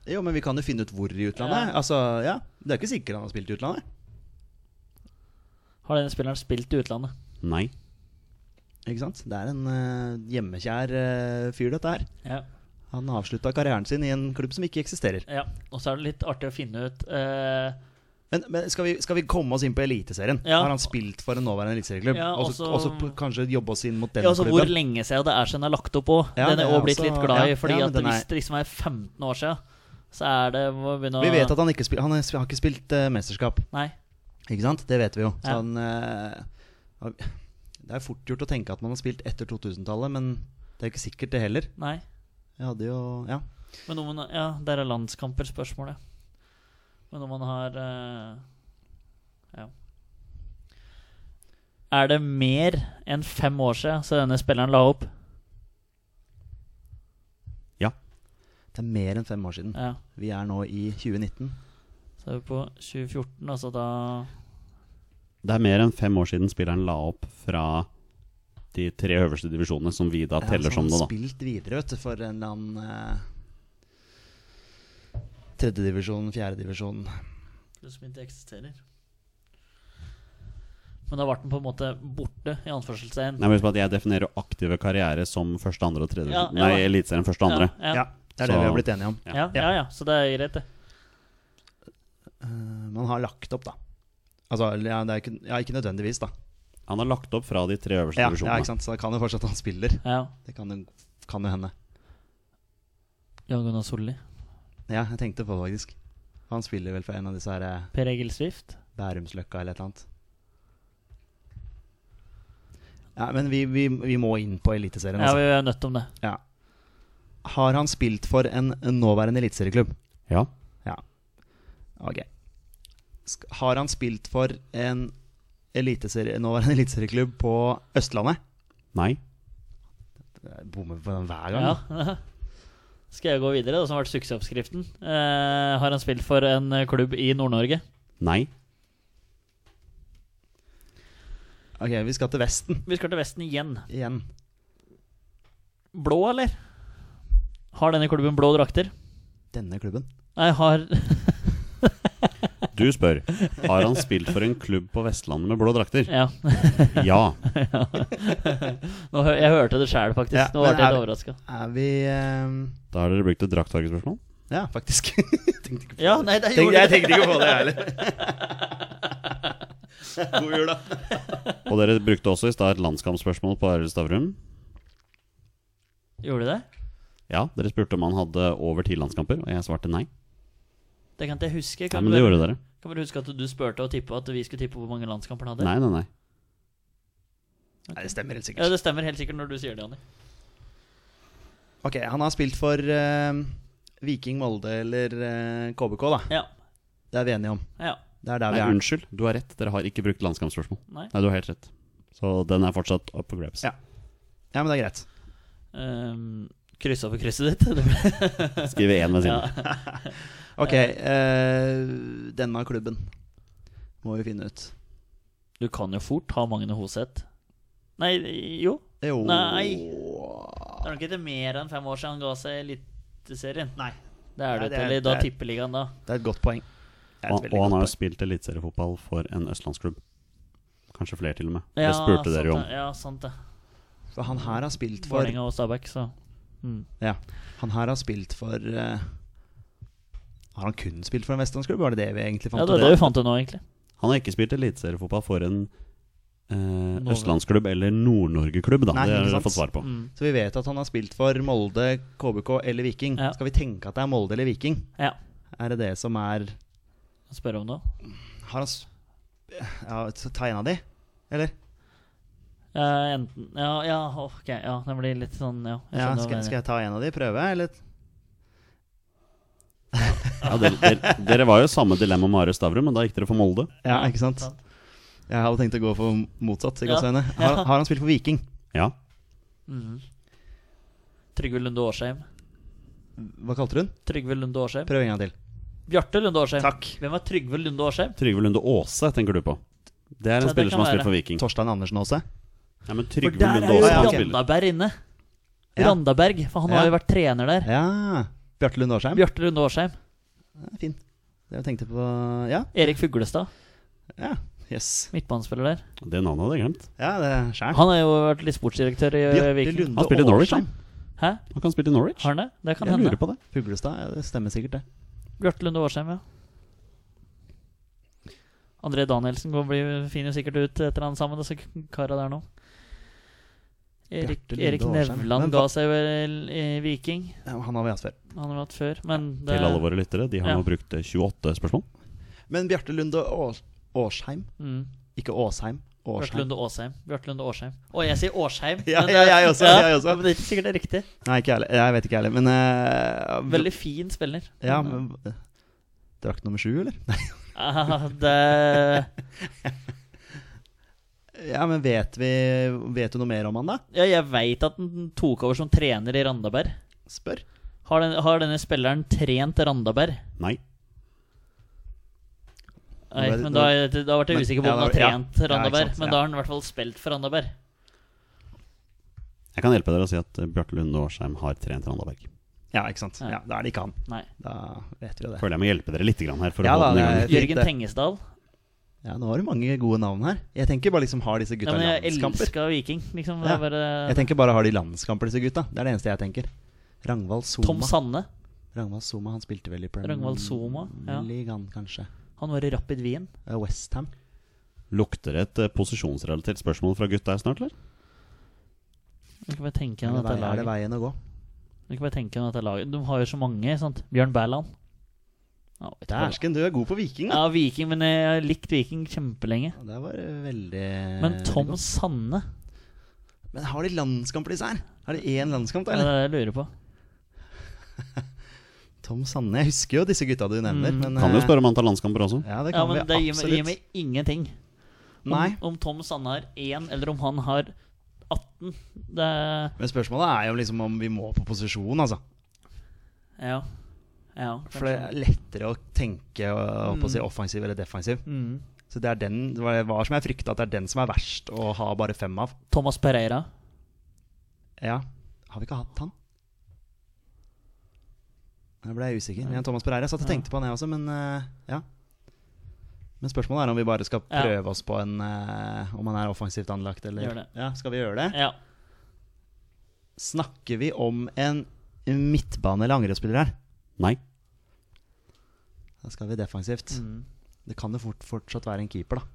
Jo, men vi kan jo finne ut hvor i utlandet. Ja. Altså, ja Det er ikke sikkert han har spilt i utlandet. Har denne spilleren spilt i utlandet? Nei. Ikke sant? Det er en eh, hjemmekjær eh, fyr, dette her. Ja. Han avslutta karrieren sin i en klubb som ikke eksisterer. Ja, og så er det litt artig å finne ut eh, Men, men skal, vi, skal vi komme oss inn på Eliteserien? Ja. Har han spilt for en nåværende eliteserieklubb? Ja, og så også- og så p- kanskje jobbe oss inn mot den ja, altså Hvor klubben? lenge siden det er siden den er lagt opp òg. Ja, den det er er òg blitt også- litt glad ja, i, fordi ja, men at den er- hvis det liksom er 15 år siden, så er det må vi begynne å Vi vet at han ikke spil, han er- har ikke spilt eh, mesterskap, Nei. ikke sant? Det vet vi jo. Så Ja. han eh, har- Det er fort gjort å tenke at man har spilt etter 2000-tallet, men det er jo ikke sikkert, det heller. nei Jeg hadde jo Ja. Men om man, Ja, der er landskamper spørsmålet. Men om man har eh, Ja. Er det mer enn fem år siden så denne spilleren la opp? Det er mer enn fem år siden. Ja. Vi er nå i 2019. Så er vi på 2014, altså da Det er mer enn fem år siden spilleren la opp fra de tre øverste divisjonene, som vi da teller Ja, sånn som så han det, har da. Spilt videre, vet du, for en eller annen eh, Tredjedivisjon, fjerdedivisjon Det som ikke eksisterer. Men da ble den på en måte borte, i anførselstegn. Nei, men husk på at Jeg definerer jo aktive karriere som første, andre og tredje. Ja, ja. Nei, Eliteserien første og andre. Ja, ja, Ja, det er det Så- vi har blitt enige om. ja, ja, ja, så det er greit, det. Eh, man har lagt opp, da. Altså, eller, ja, det er ikke, ja, ikke nødvendigvis, da. Han har lagt opp fra de tre øverste Ja, ja, divisjonene. ikke sant? Så det kan jo fortsatt at han spiller. Ja. Det kan jo, kan jo hende. Jan Gunnar Solli. Ja, jeg tenkte på det, faktisk. Han spiller vel for en av disse her eh, Per Egil Swift. Bærumsløkka eller et eller annet. Ja, men vi, vi, vi må inn på Eliteserien, Ja, altså. vi er nødt om det. Ja. Har han spilt for en nåværende eliteserieklubb? Ja. Ja. Ok. Sk- Har han spilt for en eliteserie, nåværende eliteserieklubb på Østlandet? Nei. Jeg bommer på den hver gang. da. Ja. Skal jeg gå videre, da, som har vært suksessoppskriften? Eh, har han spilt for en eh, klubb i Nord-Norge? Nei. Ok, vi skal til Vesten Vi skal til Vesten igjen. igjen. Blå, eller? Har denne klubben blå drakter? Denne klubben. Nei, har Du spør. Har han spilt for en klubb på Vestlandet med blå drakter? Ja. Ja. Nå, hø- jeg hørte det sjæl, faktisk. Ja, Nå men ble jeg litt er- overraska. Er vi eh, Da har dere brukt et drakthagerspørsmål? Ja, faktisk. Tenkte ikke på Ja, nei, det Tenk, gjorde jeg det. tenkte ikke på det, jeg heller. God jul, da. Og dere brukte også i stad et landskampspørsmål på Arild Stavrum. Gjorde det? Ja, dere spurte om han hadde over ti landskamper, og jeg svarte nei. Det kan ikke jeg huske. Ja, Kan, men du, det bare- gjorde dere. kan bare huske at du spurte og tippa at vi skulle tippe hvor mange landskamper han hadde. Nei, nei, nei. Nei, det stemmer helt Ja, sikkert. Det stemmer helt sikkert når du sier det, Jonny. Ok, han har spilt for eh, Viking, Molde eller eh, KBK, da. Ja. Det er vi enige om. ja. Det er der nei vi er. unnskyld, du har rett. Dere har ikke brukt landskampspørsmål. Nei. Nei, du har helt rett. Så den er fortsatt up for grabs. Ja. Ja, men det er greit. Um, kryssa for krysset ditt. Det ble- Skrive én ved siden av. Ok, eh, denne klubben må vi finne ut. Du kan jo fort ha Magne Hoseth. Nei, jo. Jo Nei. Det er nok ikke mer enn fem år siden han ga seg Eliteserien. Nei. Det Nei, er det det er- til i det da er- tippeligaen, da. Det er et godt poeng. Det er et Og, veldig og han godt har jo poeng. spilt eliteseriefotball for en østlandsklubb. Kanskje flere, til og med. Ja, det spurte dere jo om. sant det. Ja, sant det. For han her har spilt for Vålerenga og Stabæk, så mm. Ja, han her har spilt for eh, Har han kun spilt for en vestlandsklubb? Var det det vi egentlig fant Ja, det var ut? det vi fant ut nå, egentlig. Han har ikke spilt eliteseriefotball for en eh, Nord- østlandsklubb eller Nord-Norge-klubb, da. Nei, det har ikke dere sant. fått svar på. Mm. Så vi vet at han har spilt for Molde, KBK eller Viking. Ja. Skal vi tenke at det er Molde eller Viking? Ja. Er det det som er Spør om noe. Har han s- ja, Ta en av de, eller? Eh, enten Ja, ja, ok. Ja, det blir litt sånn, ja. Jeg Ja, skjønner hva skal, du skal jeg ta en av de? Prøve, eller? Ja, dere, dere, dere var jo samme dilemma med Are Stavrum, men da gikk dere for Molde. Ja, ikke sant? sant. Jeg hadde tenkt å gå for motsatt. i Ja. gåseøyne. Har, har han spilt for Viking? Ja. mener. Mm. Trygve Lunde Årsheim. Hva kalte du den? Trygve Lunde Årsheim. Prøv en gang til. Bjarte Lunde Årsheim. Takk. Hvem var Trygve Lunde Årsheim? Trygve Lunde Aase tenker du på. Det er Ja, en det spiller som kan har spilt være. for Viking. Torstein Andersen Aase? Ja, men For Trygve der Lunde er jo Aase han spiller. Randaberg inne. Ja. Randaberg, for han Ja. har jo vært trener der. Ja. Bjarte Lund Årsheim? Bjarte Lunde Årsheim. Ja, fin. Det jeg tenkte på Ja. Erik Fuglestad, ja. Yes. midtbanespiller der. Det navnet hadde jeg glemt. Ja, det er skjært. Han har jo vært litt sportsdirektør i eh, Viking. Han spiller i Norwich, han. Hæ? Han kan spille i Norwich. Har han det? Det kan Jeg lurer hende. på det. Fuglestad. Ja, det stemmer sikkert, det. Bjarte Lunde Årsheim, ja. André Danielsen går, blir, finner jo sikkert ut etter han sammen, disse kara der nå. Erik, Bjarte Lunde Erik Årsheim. Men Nevland ga hva- seg vel i Viking. Ja, Han har vi hatt før. Han har vært før, men det, Til alle våre lyttere. De har Ja. nå brukt eh, 28 spørsmål. Men Bjarte Lunde Ås Årsheim mm, Ikke Åsheim. Bjarte Årsheim. Lunde Åsheim. Bjarte Lunde Åsheim. Og jeg sier Årsheim. Ja, men ja, det- jeg også, ja, jeg også. Men det er ikke sikkert det er riktig. Nei, ikke jeg heller. Jeg vet ikke, jeg heller. Men eh, Veldig fin spiller. Ja, men Drakt nummer sju, eller? Ah, det Ja, men vet vi Vet du noe mer om han, da? Ja, jeg veit at han tok over som trener i Randaberg. Spør. Har, den, har denne spilleren trent Randaberg? Nei. Nei, Nå er det- men da, er- da ble Men- jeg usikker på om ja, han har da- ja. trent Ja, Randaberg. ikke sant, men ja. da har han i hvert fall spilt for Randaberg. Jeg kan hjelpe dere å si at eh, Bjarte Lunde Årsheim har trent Randaberg. Ja, ikke sant. Ja. Ja, Da er det ikke han. Nei. Da vet vi jo det. Føler jeg må hjelpe dere litt grann her. For Ja å da, holde den i det gang. er- fint, Jørgen det. Tengesdal. Ja, nå har du mange gode navn her. Jeg tenker bare liksom har disse Ja, gutta men jeg landskamper. elska Viking. Liksom, det Ja. er bare Jeg tenker bare har de landskamper, disse gutta. Det er det eneste jeg tenker. Rangvald Soma. Tom Sanne. Rangvald Soma, han spilte vel i Premier Rangvald Soma, ja. League, han kanskje. Han var i Rapid Wien. Eh, West Ham Lukter det et eh, posisjonsrelatert spørsmål fra gutta her snart, eller? Du kan bare tenke Er deg det, dette vei, er det laget. veien å gå? Du kan bare tenke deg dette laget. De har jo så mange. Sant? Bjørn Berland. Ja, vet du hva, da. Dæsken, du er god på Viking, da. ja, Viking, men jeg har likt Viking kjempelenge. Det var eh, veldig Men Tom godt. Sanne Men har de landskamper, disse her? Har de én landskamp, da, Det er eller? det jeg lurer på. Tom Sanne. Jeg husker jo disse gutta du nevner. Mm. Men, Kan jo eh, spørre om antall landskamper også. Ja, det Ja, kan men det vi gir meg, absolutt. gir meg ingenting. Om, Nei. om Tom Sanne har én, eller om han har 18. Det Men spørsmålet er jo liksom om vi må på posisjon, altså. Ja. ja For det er lettere å tenke øh, holdt på å si, offensiv eller defensiv. Mm. Så det er den det var det var som jeg frykta, at det er den som er verst å ha bare fem av. Thomas Pereira. Ja, Har vi ikke hatt han? Nå ble jeg usikker. Men Thomas Pereira jeg satt og tenkte på han, jeg også, men øh, ja. Men spørsmålet er om vi bare skal Ja. prøve oss på en øh, om han er offensivt anlagt, eller Gjør det. Ja, Skal vi gjøre det? Ja. Snakker vi om en midtbane- eller angrepsspiller her? Nei. Da skal vi defensivt. Mm. Det kan jo fort, fortsatt være en keeper, da.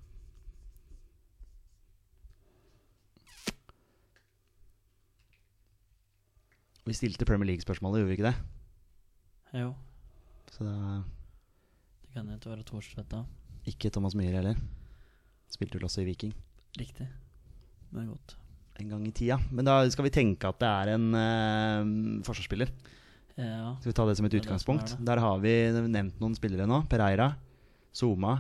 Vi stilte Premier League-spørsmålet, gjorde vi ikke det? Jo. Så det var Det kan jo ikke være Thorstvedt, da. ikke Thomas Myhre heller. Spilte vel også i Viking Riktig. Det er godt. en gang i tida. Men da skal vi tenke at det er en eh, forsvarsspiller. Ja. Skal vi ta det som et Det er det som er utgangspunkt? det. Der har vi nevnt noen spillere nå. Pereira, Zuma.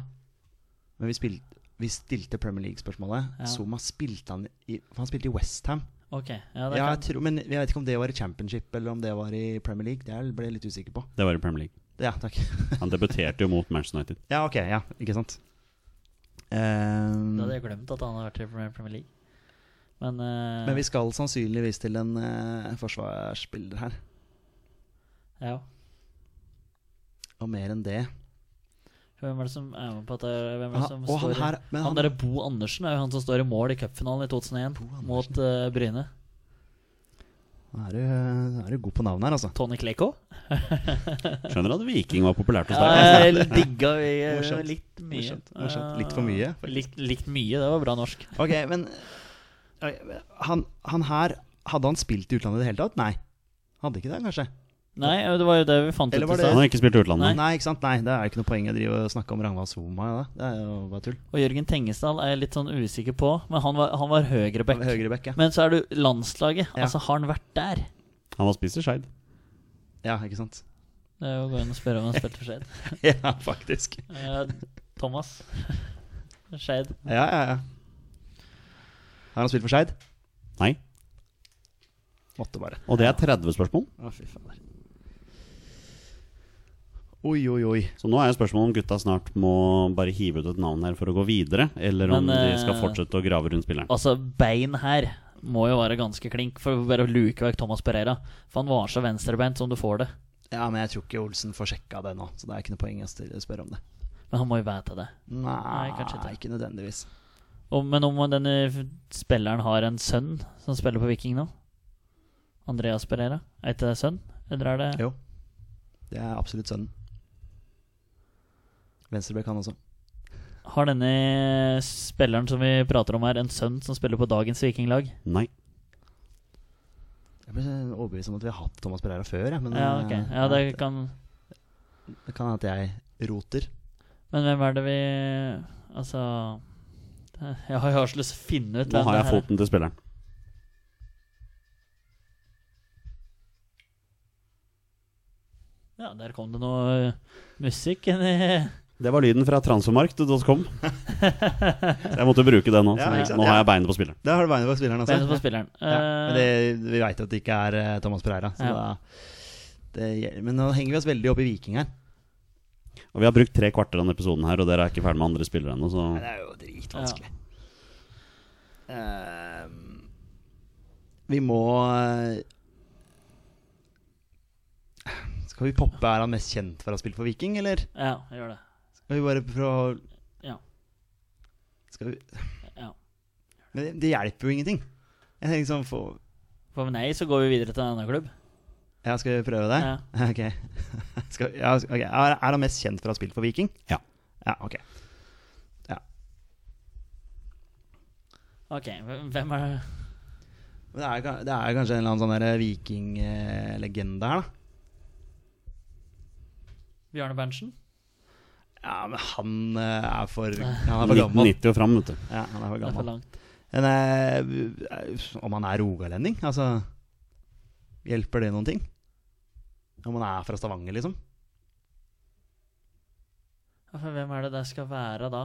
Men vi, spil- vi stilte Premier League-spørsmålet. Ja. Zuma spilte han i Han spilte i Westham. Ok. Ja, det Ja, jeg kan. tror, men jeg vet ikke om det var i Championship eller om det var i Premier League. Det er- ble jeg litt usikker på. Det var i Premier League. Ja, takk. Han debuterte jo mot Manchester United. Ja, ok, ja, ikke sant. Ehm, Da hadde jeg glemt at han har vært i Premier Premier League. Men, eh, men vi skal sannsynligvis til en eh, forsvarsspiller her. Ja. Og mer enn det. Hvem er det som er med på at det er, hvem er det Han, som og han står i- her men han, han, derre Bo Andersen er jo han som står i mål i cupfinalen i 2001 mot eh, Bryne. nå er, du, nå er du god på navn her, altså. Tony Kleko. Skjønner at Viking var populært hos deg. Ja, jeg digga vi eh, Morsomt. litt mye. Morsomt, morsomt. Litt for mye, Eh, Likt, likt mye, det var bra norsk. Ok, men ok, han, han her Hadde han spilt i utlandet i det hele tatt? Nei. Hadde ikke det, kanskje? Nei, eh, det var jo det vi fant Eller var ut i det- Han stad. har ikke spilt i Nei. utlandet. ikke sant? Nei, det er ikke noe poeng å drive og snakke om Ragnvald Zuma. Ja. da. Det er jo bare tull. Og Jørgen Tengesdal er jeg litt sånn usikker på, men han var, han var høyreback. Høyrebekk, ja. Men så er du landslaget. Ja. Altså, har han vært der? Han var spist i Skeid. ja. Ikke sant? Det er jo å gå inn og spørre om han har spilt for Skeid. ja, faktisk. Eh, Thomas. Skeid. Ja, ja, ja. Har han spilt for Skeid? Nei. Måtte bare. Og det er 30 spørsmål. Oi, oi, oi. Så nå er jo spørsmålet om gutta snart må bare hive ut et navn her for å gå videre, eller om Men, de skal eh, fortsette å grave rundt spilleren. Altså, bein her må jo være ganske klink for å bare luke vekk Thomas Pereira. For han var så venstrebeint som du får det. Ja, men jeg tror ikke Olsen får sjekka det nå, så det er ikke noe poeng å stille- spørre om det. Men han må jo vite det. Nei, kanskje ikke. ikke nødvendigvis. Og, men om denne f- spilleren har en sønn som spiller på Viking nå? Andreas Pereira? Er ikke det sønn? Eller er det Jo. Det er absolutt sønnen. Venstrebekk, han også. Har denne spilleren som vi prater om her, en sønn som spiller på dagens vikinglag? Nei. Jeg ble så overbevist om at vi har hatt Thomas Pereira før, jeg. Mm, Men Ja, ok. eh, Ja, det kan det kan hende at jeg roter. Men hvem er det vi Altså det- Jeg har jeg har så lyst til å finne ut Nå hvem har det jeg her er. foten til spilleren. Ja, der kom det noe eh, musikk inni Det var lyden fra transfermarkt.com. Så jeg måtte bruke den nå. Ja, Så ikke sant, nå ja. har jeg beinet på spilleren. Der har du beinet på spilleren også. Beinet på spilleren. Ja, men det, Eh, vi veit at det ikke er eh, Thomas Pereira. Så Ja. da, det, gjel- men nå henger vi oss veldig opp i Viking her. Og vi har brukt tre kvarter av denne episoden her, og dere er ikke ferdig med andre spillere ennå, så Det er jo dritvanskelig. Ehm, vi må eh, Skal vi poppe er han mest kjent for å ha spilt for Viking, eller ja, gjør det. skal vi bare prøve å Ja. Skal vi Ja. Men det, det hjelper jo ingenting. Jeg tenker sånn for, For nei, så går vi videre til en annen klubb. Ja, skal vi prøve det? Ja. Ok. skal, ja, ok. Er, er han mest kjent for å ha spilt for Viking? Ja. Ja, ok. Ok, hvem- hvem er det? Men det er, ka- det er kanskje en eller annen sånn der vikinglegende her, da. Bjarne Berntsen? Ja, men han eh, er for Han er for gammel. 1990 og fram, vet du. Ja, han er for Det er for gammel. langt. en, eh, Om han er rogalending? Altså Hjelper det noen ting? Om han er fra Stavanger, liksom? Ja, For hvem er det det skal være da?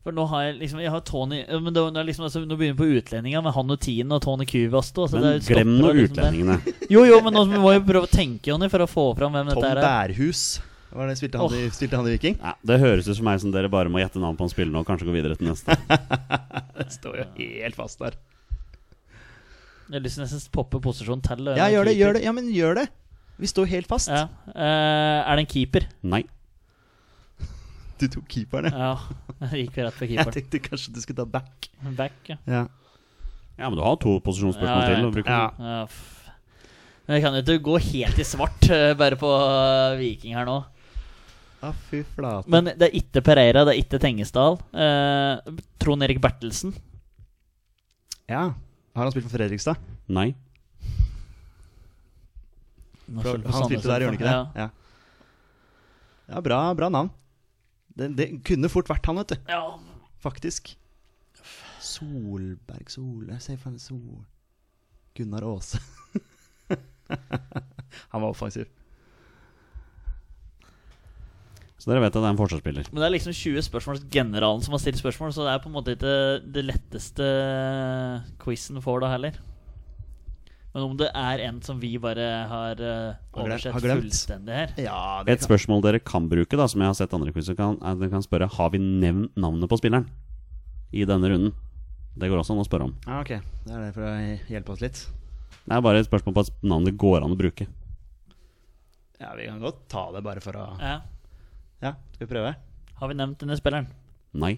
For nå har jeg liksom Jeg har Tony ja, men det, var- det er liksom, altså, Nå begynner vi på utlendinga med han og Tien og Tony Kuvasto. Altså, Men det stopper glem nå jo liksom der. utlendingene. Jo, jo, men nå må vi prøve å tenke, Jonny, for å få fram hvem Tom dette er. Bærhus. Var det, spilte, han i, spilte han i Viking? Ja, det høres ut for meg som dere bare må gjette navn på en spiller nå og kanskje gå videre til neste. Det står jo helt fast der. Jeg har lyst til nesten å poppe posisjon til. Ja, gjør det, gjør det. Ja, men gjør det. Vi står helt fast. Ja. Eh, er det en keeper? Nei. Du tok keeperen, ja. Ja. Gikk vi rett på Jeg keeperen. tenkte kanskje du skulle ta back. Back, ja. Ja. Ja, men du har to posisjonsspørsmål Ja, ja. til å bruke. Ja. Ja, f- Men jeg kan jo ikke gå helt i svart eh, bare på eh, Viking her nå. Ah, fy flate. Men det er ikke Pereira, det er ikke Tengesdal. Eh, Trond Erik Bertelsen. Ja. Har han spilt for Fredrikstad? Nei. Nå For skylder på Han Sandnes, spilte der, gjorde han ikke det? Ja. Ja, ja bra, bra navn. Det, det kunne fort vært han, vet du. Ja. Faktisk. Solberg Sol Jeg ser for meg Sol Gunnar Aase. han var offensiv. Så dere vet at det er en forsvarsspiller. Men det er liksom 20 spørsmål til generalen som har stilt spørsmål, så det er på en måte ikke det letteste eh, quizen får da heller. Men om det er en som vi bare har eh, Har glem- oversett har glemt. fullstendig her Ja, det Et spørsmål dere kan bruke, da, som jeg har sett andre quizer, kan, er at dere kan spørre Har vi nevnt navnet på spilleren i denne runden. Det går også an å spørre om. Ja, Ah, ok. Det er det for å hjelpe oss litt. Det er bare et spørsmål på at navn det går an å bruke. Ja, vi kan godt ta det bare for å ja. Ja, skal vi prøve? Har vi nevnt denne spilleren? Nei.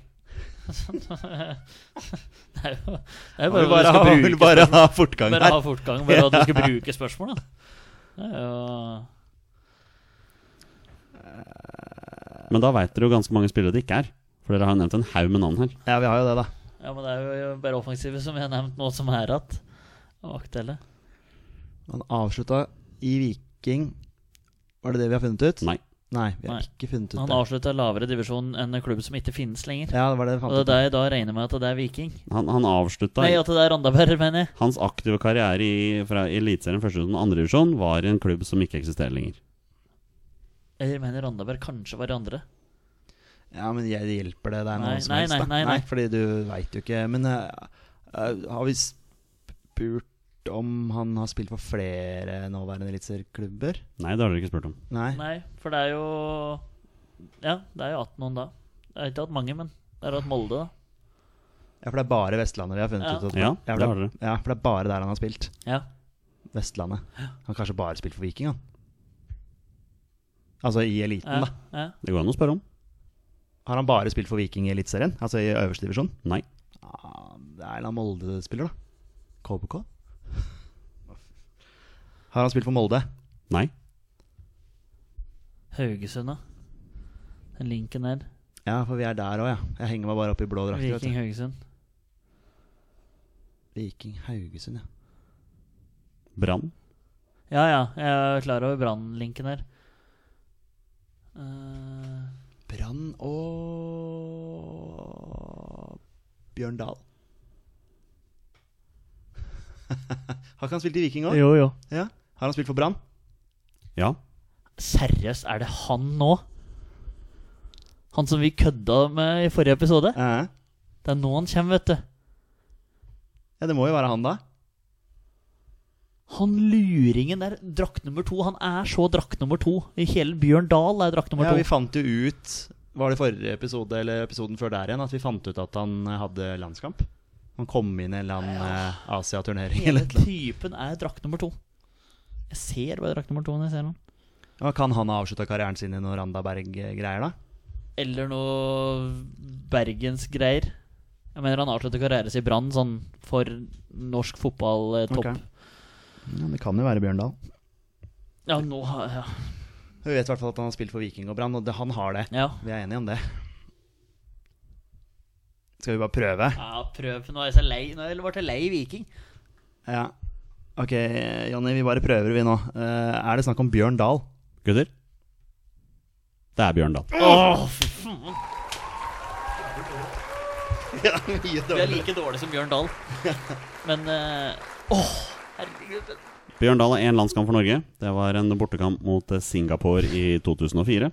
Det er jo det er jo Vi bare, bare, ha- bare, vil bare ha fortgang bare her. ha fortgang, bare at du skal bruke spørsmålet. Det er jo Men da veit dere jo ganske mange spillere det ikke er. For dere har jo nevnt en haug med navn her. Ja, vi har jo det, da. Ja, men det er jo bare offensive, som vi har nevnt nå, som er at aktuelle. Han avslutta i Viking. Var det det vi har funnet ut? Nei. Nei, vi har Nei. ikke funnet ut Han det. avslutta lavere divisjon enn en klubb som ikke finnes lenger. Ja, det var det vi Og fant ut. det er da jeg da regner med at det er Viking. Han, han avslutta Nei, at det er Randaberg, mener jeg. Hans aktive karriere i, fra Eliteserien første divisjon og andre divisjon var i en klubb som ikke eksisterer lenger. Eller jeg mener Randaberg kanskje var i andre. Ja, men jeg det hjelper det deg Nei, noe som nei, helst, da. nei, nei, nei. fordi du veit jo ikke. Men eh, eh, har vi spurt om han har spilt for flere nåværende eliteserieklubber? Nei, det har dere ikke spurt om. Nei. Nei, for det er jo Ja, det er jo 18 noen da. Jeg har ikke hatt mange, men det har hatt Molde, da. Ja, for det er bare Vestlandet vi har funnet Ja. ut. at- Ja, for det har dere. Ja, for det er bare der han har spilt. Ja. Vestlandet. Han har kanskje bare spilt for Viking, han. Altså i eliten, ja, da. ja. Det går an å spørre om. Har han bare spilt for Viking i Eliteserien? Altså i øverste divisjon? Nei. Ah, Det er en av Molde-spiller, da. KBK? Har han spilt for Molde? Nei. Haugesund, da. Den linken der. Ja, for vi er der òg, ja. Jeg henger meg bare opp i blå drakt. vet du. Viking Haugesund. Viking Haugesund, ja. Brann. Ja, ja. Jeg er klar over Brann-linken her. Eh, Brann og Bjørn Dahl. har ikke han spilt i Viking òg? jo, jo. Ja. Har han spilt for Brann? Ja. Seriøst, er det han nå? Han som vi kødda med i forrige episode? Eh, Det er nå han kommer, vet du. Ja, det må jo være han, da. Han luringen der, drakt nummer to. Han er så drakt nummer to. I hele Bjørn Dahl er drakt nummer Ja, vi to. fant jo ut Var det forrige episode eller episoden før der igjen at vi fant ut at han eh, hadde landskamp? Han kom inn i en eller annen eh, Asia-turnering Hele eller noe. typen er drakt nummer to. Jeg ser bare drakt nummer to når jeg ser han. Kan han ha avslutta karrieren sin i noen Randaberg-greier, da? Eller noe bergensgreier. Jeg mener han avslutter karrieren sin i Brann, sånn for norsk fotball eh, topp. Ok. Ja, det kan jo være Bjørndal. Ja, nå har ja. Vi vet i hvert fall at han har spilt for Viking og Brann, og det, han har det. ja. Vi er enige om det. Skal vi bare prøve? Ja, prøv. Nå er jeg så lei. Nå er jeg- ble jeg lei Viking. Ja. Ok, Jonny, vi bare prøver, vi nå. Eh, er det snakk om Bjørn Dahl? Gutter? Det er Bjørn Dahl. Åh, fy faen. ja, mye Vi er dårligere. like dårlige som Bjørn Dahl. Men eh, åh, herregud. Bjørn Dahl har én landskamp for Norge. Det var en bortekamp mot eh, Singapore i 2004.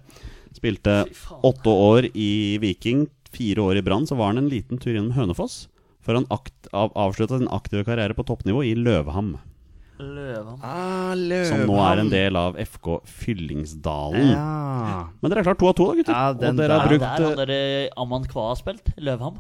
Spilte Fy faen. åtte år i Viking, fire år i Brann. Så var han en liten tur gjennom Hønefoss før han akt, av, avslutta sin aktive karriere på toppnivå i Løvham. Løvan. Ah, Som nå er en del av FK Fyllingsdalen. Ja. Men dere er klart to av to, da, gutter. Ja, den Og dere Ja, har eh, der- det brukt er han derre Aman Kwa har spilt. Løvham.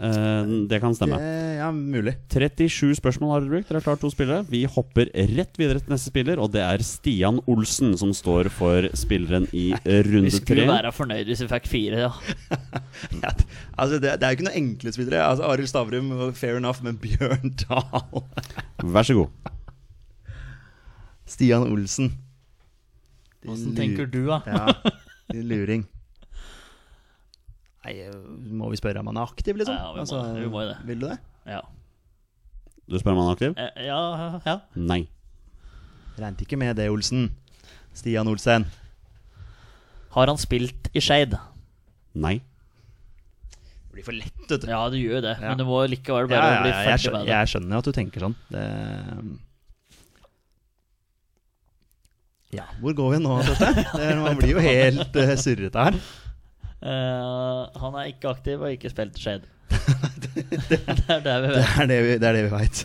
eh, Det kan stemme. Det, ja, mulig. 37 spørsmål har dere brukt. Dere har klart to spillere. Vi hopper rett videre til neste spiller, og det er Stian Olsen som står for spilleren i runde Vi skulle tre. være fornøyd hvis vi fikk fire, ja. Ja, det- altså, det, det er jo ikke noen enkle spillere. Altså, Arild Stavrum, fair enough, men Bjørn Dahl Vær så god. Stian Olsen. Åssen tenker du, da? Ja, luring. Nei, må vi spørre om han er aktiv, liksom? Ja, vi må det. Vi må jo det. Vil du det? Ja. Du spør om han er aktiv? Eh, ja, ja. Nei. Regnet ikke med det, Olsen. Stian Olsen. Har han spilt i Skeid? Nei. Det blir for lett, vet du. Ja, du gjør jo det, Ja. men det må likevel Ja, bare ja, bli ja, jeg, ferdig skjønner, med det. jeg skjønner at du tenker sånn. Det ja, hvor går vi nå, Tøfte? Det- Man blir jo helt eh, surrete her. Eh, han er ikke aktiv og ikke spilt i Skeid. det er det Det vi vet. er det vi, det er det vi veit.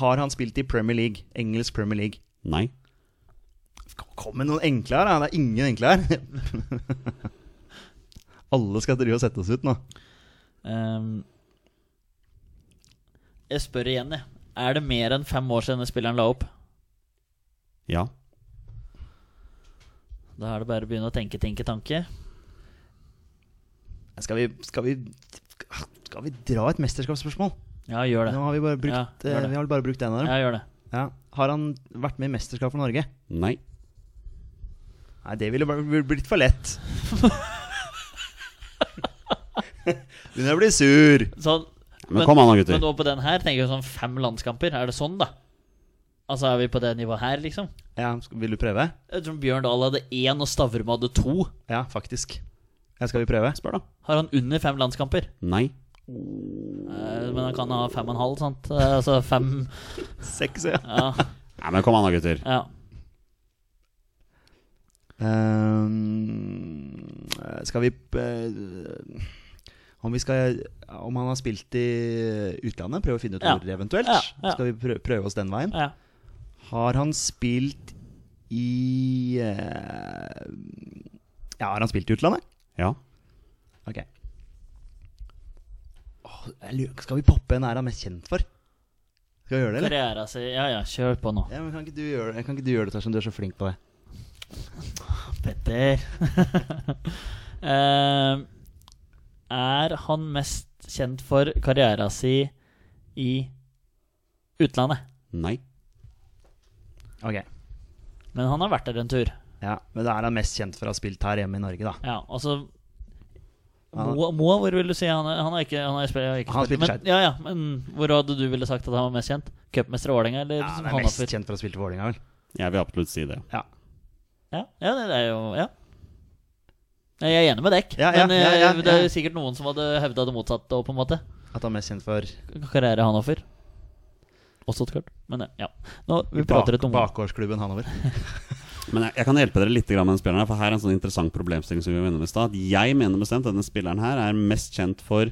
har han spilt i Premier League? Engelsk Premier League? Nei. Kom- Kom med noen enkle her, da. Det er ingen enkle her. Alle skal drive og sette oss ut nå. Ehm, jeg spør igjen, jeg. Er det mer enn fem år siden den spilleren la opp? Ja. Da er det bare å begynne å tenke, tenke, tanke. Skal vi, skal vi, skal vi dra et mesterskapsspørsmål? Ja, gjør det. Nå har vi bare brukt, Ja, gjør eh, det. vi har bare brukt en av dem. Ja, gjør det. Ja. Har han vært med i mesterskap for Norge? Nei. Nei, det ville bare blitt for lett. Begynner å bli sur. Sånn, Men kom an da, gutter. Men nå på den her tenker jeg sånn fem landskamper. Er det sånn, da? Altså, er vi på det nivået her, liksom? Ja, sk- Vil du prøve? Jeg tror Bjørn Dahl hadde én, og Stavrum hadde to. Ja, faktisk. Ja, skal vi prøve? Spør, da. Har han under fem landskamper? Nei. Eh, men han kan ha fem og en halv, sant? Eh, altså fem Seks, ja. Ja. Nei, men kom an da, gutter. ja. Ehm, skal vi eh, om, vi skal, om han har spilt i utlandet, prøve å finne ut Ja. hvor eventuelt. Ja, ja. Skal vi prøve, prøve oss den veien? ja. Har han spilt i eh, Ja, har han spilt i utlandet? Ja. Ok. Åh, jeg lurer- skal vi poppe en er han mest kjent for? Skal vi gjøre det, eller? Karriera si Ja ja, kjør på nå. Ja, men kan ikke du gjøre det, kan ikke du gjøre det Tarsan? Du er så flink på det. Petter. Eh, er han mest kjent for karriera si i utlandet? Nei. Ok. Men han har vært der en tur. Ja, Men da er han mest kjent for å ha spilt her hjemme i Norge, da. Ja, altså Han- Moa, Moa, hvor vil du si han er? Han har ikke, han har spilt, ikke Han har spilt spilt men, ja, ja, men hvor hadde du ville sagt at han var mest kjent? Cupmester i Vålerenga, eller Ja, som han er han har mest spilt? kjent for å ha spilt i Vålerenga, vel. Jeg vil absolutt si det. Ja. Ja, ja, det er jo Ja. Nei, Jeg er enig med dekk, Ja, ja, men eh, ja, ja, det er ja. jo sikkert noen som hadde hevda det motsatte òg, på en måte. At han er mest kjent for Karriere Hanoffer. Også et kart. Men eh, ja. Nå, vi prater et om bakgårdsklubben Hanover. Men jeg, jeg kan hjelpe dere litt grann med den spilleren her, for her er en sånn interessant problemstilling som vi var inne med i stad. Jeg mener bestemt at denne spilleren her er mest kjent for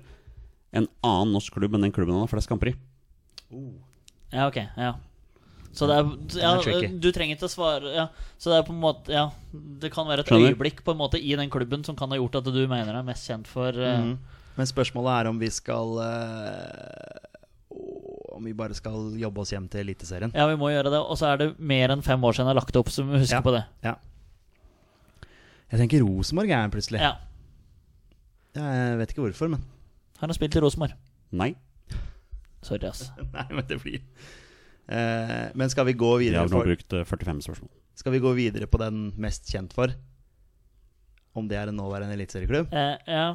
en annen norsk klubb enn den klubben han har flest kamper i. Ja, ok. Ja. Så det er, ja, eh, Den er tricky. Du trenger ikke å svare ja. Så det er på en måte Ja, det kan være et Skjønner. øyeblikk på en måte i den klubben som kan ha gjort at du mener er mest kjent for eh, Mhm. Mm. Men spørsmålet er om vi skal eh, å, Om vi bare skal jobbe oss hjem til Eliteserien. Ja, vi må gjøre det. Og så er det mer enn fem år siden jeg har lagt opp, så vi må huske Ja. på det. Ja. Jeg tenker Rosenborg er han plutselig. Ja. Jeg vet ikke hvorfor, men Her har spilt i Rosenborg. Nei. Sorry, ass. Nei, men det blir Eh, Men skal vi gå De har videre nå for, brukt eh, 45 spørsmål. Skal vi gå videre på den mest kjent for? Om det er en nåværende eliteserieklubb? Eh, ja.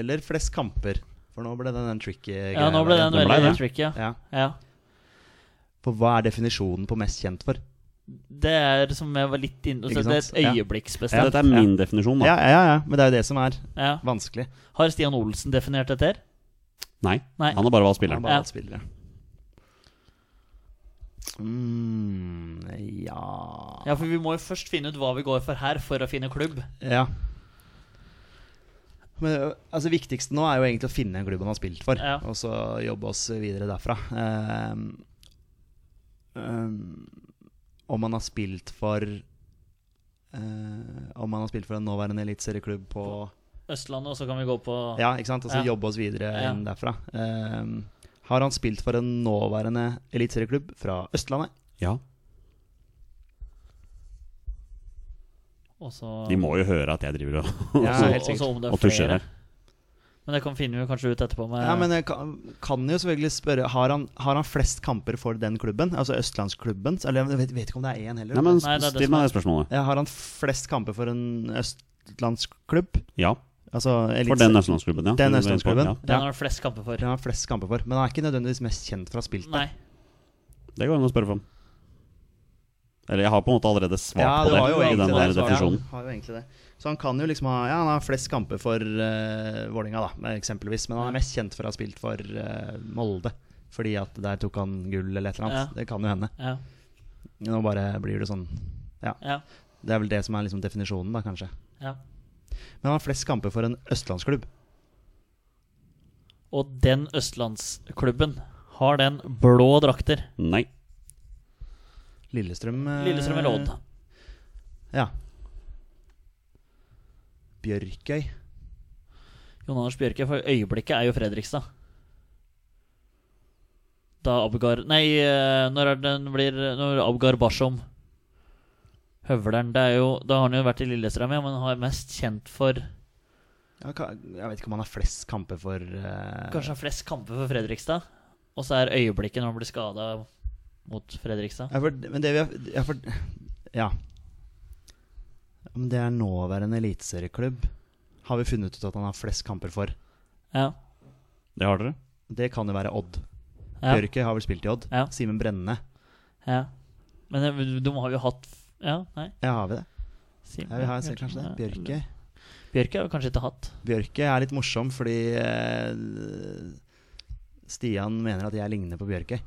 Eller flest kamper? For nå ble den en tricky greia. ja, nå ble der. den Den ble veldig det. tricky, ja. ja. ja. For hva er definisjonen på mest kjent for? Det er som jeg var litt inne Ikke så Det er sant? et Ja. Ja, øyeblikksbestemt. dette er min definisjon, da. Ja, ja, ja, men det er jo det som er Ja. vanskelig. Har Stian Olsen definert dette her? Nei, Nei. han har bare valgt Han spilleren. bare Ja. ja. spillere. Mm, ja Ja, for vi må jo først finne ut hva vi går for her, for å finne klubb. Ja. Men ø, altså, det viktigste nå er jo egentlig å finne en klubb han har spilt for, Ja. og så jobbe oss videre derfra. Ehm, ehm, om han har spilt for eh, Om han har spilt for en nåværende eliteserieklubb på Østlandet, og så kan vi gå på Ja, ikke sant? Altså Ja. jobbe oss videre Ja. inn derfra. Ehm, har han spilt for en nåværende eliteserieklubb fra Østlandet? Ja, Og så, De må jo høre at jeg driver og, Ja, og så, helt og sikkert. så om det og er tusjer flere. her. Men det kan finne vi kanskje ut etterpå. Med, Ja, men jeg kan, kan jo selvfølgelig spørre Har han, har han flest kamper for den klubben? Altså østlandsklubben? Eller jeg vet, vet ikke om det er én heller. Nei, men Nei, det er det still som meg er- det spørsmålet. Ja, har han flest kamper for en østlandsklubb? Ja, Altså for den østlandsklubben. Ja. Den Du er inne på, østlandsklubben? Ja. den har du flest kamper for. Den har han flest kamper for. Men han er ikke nødvendigvis mest kjent for å ha spilt der. Nei. Det går an å spørre for. Eller jeg har på en måte allerede svart Ja, på det det, var jo i egentlig den det. der jeg svarte. definisjonen. Ja, har jo egentlig det. Så han kan jo liksom ha Ja, han har flest kamper for uh, Vålinga, da, eksempelvis. Men han er mest kjent for å ha spilt for eh, Molde. Fordi at der tok han gull eller et eller annet. Ja. Det kan jo hende. Ja. Nå bare blir det sånn Ja. Ja. Det er vel det som er liksom definisjonen, da, kanskje. ja. Men han har flest kamper for en østlandsklubb. Og den østlandsklubben har den blå drakter. Nei. Lillestrøm eh, Lillestrøm eller Odd. Ja. Bjørkøy. Jon Anders Bjørke for øyeblikket er jo Fredrikstad. Da Abgar Nei, eh, når er den blir Når Abgar Basham høvleren det er jo, Da har han jo vært i Lillestrøm, ja, men han er mest kjent for Ja, ka- Jeg vet ikke om han har flest kamper for eh, Kanskje han har flest kamper for Fredrikstad. Og så er øyeblikket når han blir skada mot Fredrikstad. ja, for, Men det vi har ja, for, ja. Om det er nåværende eliteserieklubb, har vi funnet ut at han har flest kamper for. Ja. Det har dere. Det kan jo være Odd. ja. Bjørkøy har vel spilt i Odd. Ja. Simen Brenne. ja. Men eh, de har jo hatt Ja, nei. Ja, har vi det? Simen Ja, vi har ser kanskje det. Bjørke. Bjørkøy. Bjørke har jo kanskje ikke hatt. Bjørke er litt morsom fordi eh, Stian mener at jeg ligner på Bjørke.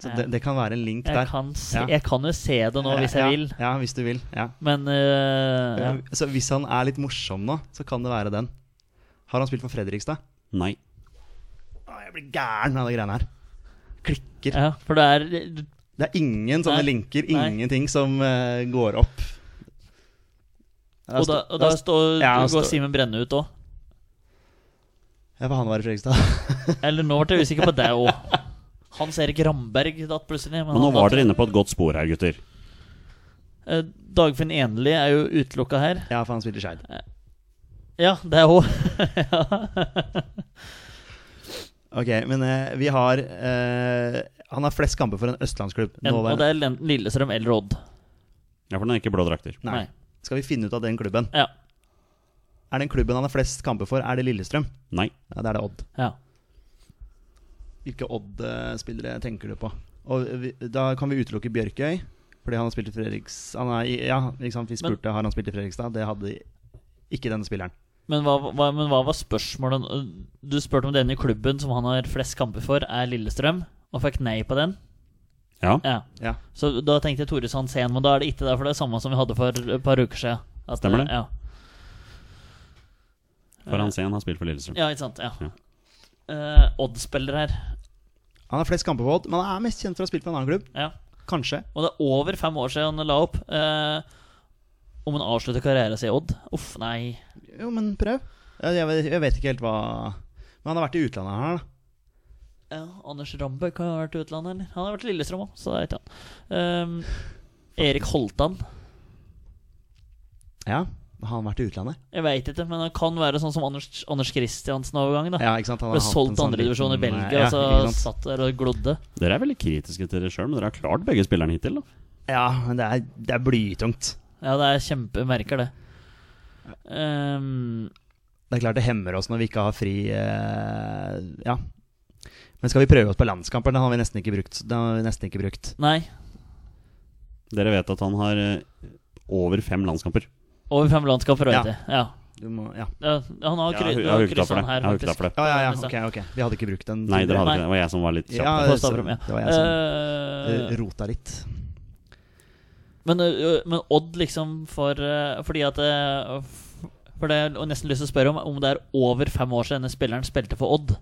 Så Ja. det, det kan være en link Jeg der. kan, se, Ja. jeg kan jo se det nå hvis jeg ja, vil, Ja, hvis du vil. Ja. men eh, ja. Så hvis han er litt morsom nå, så kan det være den. Har han spilt for Fredrikstad? Nei. Å, jeg blir gæren av de greiene her. Klikker. ja, for det er Det er ingen sånne Nei. linker, Nei. ingenting som eh, går opp. Og da, og da står, Ja, går står- Simen Brenne ut òg. Ja, for han var i Fredrikstad. Eller nå ble jeg usikker på deg òg. Hans Erik Ramberg datt plutselig. Men nå var dere inne på et godt spor her, gutter. Eh, Dagfinn Enli er jo utelukka her. Ja, for han spilte Skeid. Ja, det er òg. Ok, men eh, vi har eh, Han har flest kamper for en østlandsklubb. Og Nåværende. det er enten Lillestrøm eller Odd. Ja, for den er ikke blå drakter. Nei. Nei. Skal vi finne ut av den klubben? Ja. Er den klubben han har flest kamper for, er det Lillestrøm? Nei. Ja, det er det Odd. ja. Hvilke Odd-spillere tenker du på? Og vi, Da kan vi utelukke Bjørkøy, fordi han har spilt i Fredriks... Han er, i- ja, ikke sant? Vi spurte har han spilt i Fredrikstad. Det hadde ikke denne spilleren. Men hva, hva, men hva var spørsmålet? Du spurte om denne klubben som han har flest kamper for, er Lillestrøm, og fikk nei på den. Ja. Ja. Ja. Så da tenkte jeg Tore Sandsen, men da er det ikke det, for det er samme som vi hadde for et par uker siden. At, Stemmer det. Ja. For Hansen har spilt for Lillestrøm. ja, ikke sant. Ja. Ja. Eh, Odd-spiller her. Han har flest kamper for Odd, men han er mest kjent for å ha spilt for en annen klubb. Ja. Kanskje. Og det er over fem år siden han la opp. eh, om han avslutter karrieren sin i Odd? Uff, nei. Jo, men prøv. Ja, Jeg, vet- jeg vet ikke helt hva Men han har vært i utlandet her, da. Ja, Anders Rambøk har vært i utlandet, eller? Han har vært i Lillestrøm òg, så det er ikke han. Eh, Erik Holtan. Ja, har han vært i utlandet? Jeg veit ikke, men det kan være sånn som Anders, Anders Kristiansen-overgangen. da Ja, ikke sant? Han har Ble hatt en solgt til sånn andredivisjon i liten, eh, Belgia, og ikke så sant? satt der og glodde. Dere er veldig kritiske til dere sjøl, men dere har klart begge spillerne hittil, da. Ja, men det er, det er blytungt. Ja, det er kjempe Merker det. Ehm, Det er klart det hemmer oss når vi ikke har fri eh, Ja. Men skal vi prøve oss på landskamper? Den har vi nesten ikke brukt. Den har vi nesten ikke brukt. nei. Dere vet at han har eh, over fem landskamper. Over fem landskap for Ja. øvrig. Ja. Du må, ja. Ja. Han har, Jeg kry- har- jeg har du har hukta kryssa for han det. her, Jeg har hukta faktisk. for det. Ja, ja, ja, Neste. ok, ok. Vi hadde ikke brukt den. Nei, dere hadde Nei. ikke det. Det var jeg som var litt kjapp. Ja, På så- Stavrum, ja. Det var jeg som Eh, eh, rota litt. Men, ø, men Odd, liksom, for ø, Fordi at ø, f- For det jeg har nesten lyst til å spørre om, om det er over fem år siden denne spilleren spilte for Odd.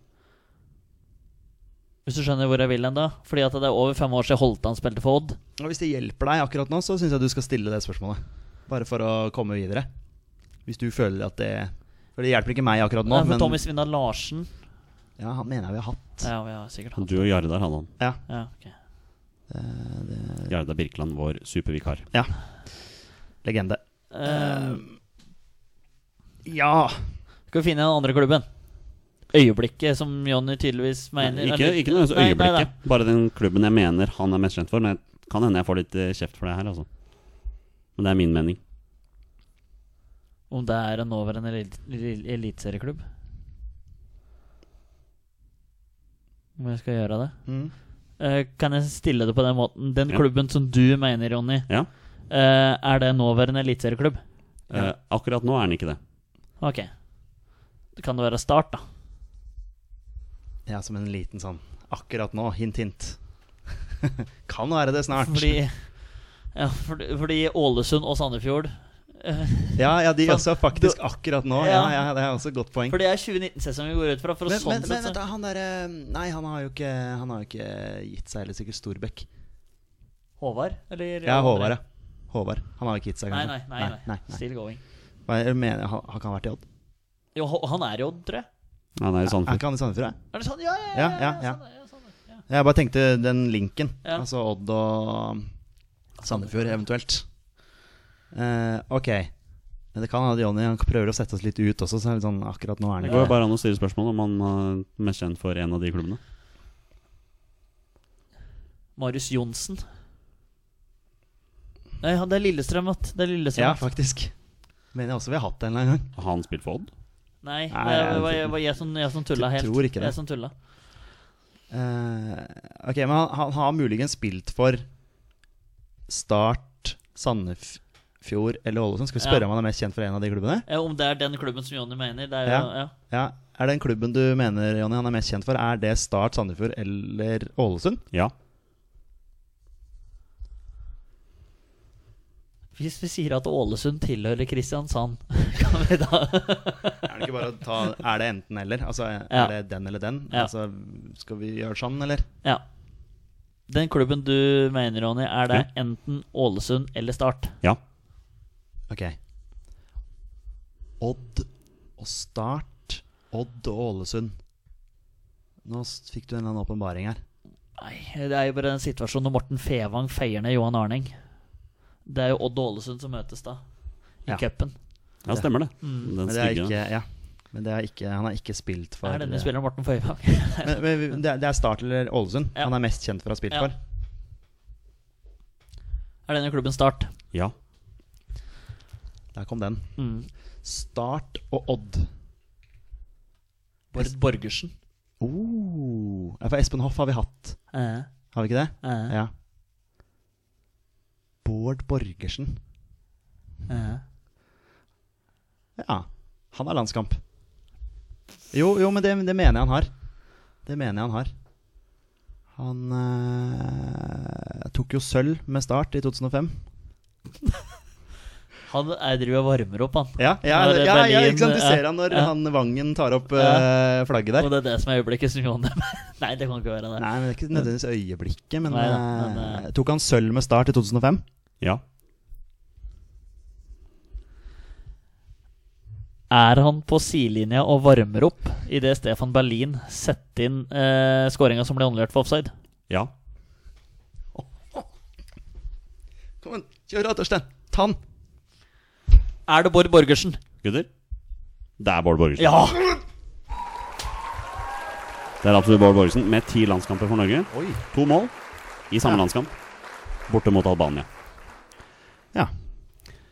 Hvis du skjønner hvor jeg vil hen, da? Fordi at det er over fem år siden Holtan spilte for Odd. Og Hvis det hjelper deg akkurat nå, så syns jeg du skal stille det spørsmålet. Bare for å komme videre. Hvis du føler at det For det hjelper ikke meg akkurat nå, Nei, for men Tommy Svindal Larsen ja, han mener jeg vi har hatt. Ja, vi har sikkert han. Du og Jardar hadde han. Ja, Ja, ok. eh, det, Jardar Birkeland, vår supervikar. legende. Eh, Ja skal vi finne den andre klubben? Øyeblikket, som Jonny tydeligvis mener Ikke, eller- ikke noe Nei, nei, nei. øyeblikket. Bare den klubben jeg mener han er mest kjent for. Men jeg kan hende jeg får litt eh, kjeft for det her, altså. Men det er min mening. Om det er en nåværende elit- elit- eliteserieklubb? Om jeg skal gjøre det? Mm. Eh, kan jeg stille det på den måten? Den Ja. klubben som du mener, Jonny, Ja. eh, er det nåværende eliteserieklubb? Eh, akkurat nå er han ikke det. Ok. Det kan det være Start, da? Ja, som en liten sånn Akkurat nå, hint, hint. kan være det snart. Fordi, ja, fordi, fordi Ålesund og Sandefjord Ja, ja, de Sånn, også, faktisk. Akkurat nå. Ja, Ja. ja, det er også et godt poeng. For det er 2019-sesongen vi går ut fra. For å Men, sånn men, men sett, vent, så- da, han derre Nei, han har jo ikke, han har jo ikke gitt seg, eller sikkert Storbekk. Håvard? Eller Ja, Håvard, ja. Håvard. Han har jo ikke gitt seg, Nei, kanskje? nei, nei, nei. nei, nei. Still going. Hva er det du mener han, han kan ha vært i Odd? Jo, ho- han er i Odd, tror jeg. Han er i Er Sandefjord. ikke han i Sandefjord? jeg? Er det sånn? Ja, ja, ja. Ja, ja, ja. sånn, ja, sånn, ja. Jeg bare tenkte den linken. Ja. Altså Odd og Sandefjord, eventuelt. Eh, ok. Men det kan hende Jonny han prøver å sette oss litt ut også, så er det litt sånn, akkurat nå er han Det ikke går jo bare an å stille spørsmål om han er mest kjent for en av de klubbene. Marius Johnsen. Nei, han, det er Lillestrøm, at. Det er Ja, Lillestrøm. att. faktisk. Mener jeg også vi har hatt det en eller annen gang. Har han spilt for Odd? Nei, det Nei, var, jeg- var, var jeg som, jeg som tulla helt. Tror ikke det. Jeg sånn som tulla. Eh, ok, men han, han har muligens spilt for Start, Sandefjord eller Ålesund. Skal vi spørre Ja. om han er mest kjent for en av de klubbene? Ja, om det er den klubben som Jonny mener. Det er jo, Ja. ja. Ja, Er den klubben du mener Jonny, han er mest kjent for, er det Start, Sandefjord eller Ålesund? Ja. Hvis vi sier at Ålesund tilhører Kristiansand, kan vi da Er det ikke bare å ta Er det enten eller? Altså, er Ja. det den eller den? Ja. Altså, Skal vi gjøre sånn, eller? Ja. Den klubben du mener, Ronny, er det Mm. enten Ålesund eller Start. Ja. Ok. Odd og Start. Odd og Ålesund. Nå s- fikk du en eller annen åpenbaring her. Nei, det er jo bare den situasjonen når Morten Fevang feier ned Johan Arning. Det er jo Odd og Ålesund som møtes da, i Ja. cupen. Ja, stemmer det. Den Mm. Men det er stygge. ikke, ja. men det er ikke, han er ikke spilt for Er denne spilleren Morten Fevang? men, men, vi- det, er, det er Start eller Ålesund Ja. han er mest kjent for å ha spilt Ja. for. er denne klubben Start? Ja. Der kom den. Mm. Start og Odd. Bård Borgersen. Oh. Ja, for Espen Hoff har vi hatt, Eh, har vi ikke det? eh, Ja. Bård Borgersen. eh. Ja. Han har landskamp. Jo, jo men det, det mener jeg han har. Det mener jeg han har. Han eh, tok jo sølv med Start i 2005. Han er, driver og varmer opp, han. Ja, ja, Når, eh, ja, ja Berlin, ikke sant? du eh, ser han når ja. han Vangen tar opp Ja. eh, flagget Og der. det er det som er øyeblikket som Johan Nei, det kan ikke være det. Nei, men Det er ikke nødvendigvis øyeblikket, men, Nei, da, men, eh, tok han sølv med Start i 2005? Ja. Er han på sidelinja og varmer opp idet Stefan Berlin setter inn eh, skåringa som ble annullert for offside? Ja. Kom igjen, kjør da, Torstein! Ta han! Er det Bård Borgersen? Gutter? Det er Bård Borgersen. Ja! Det er absolutt Bård Borgersen med ti landskamper for Norge. Oi. To mål i samme Ja. landskamp. Borte mot Albania. Ja.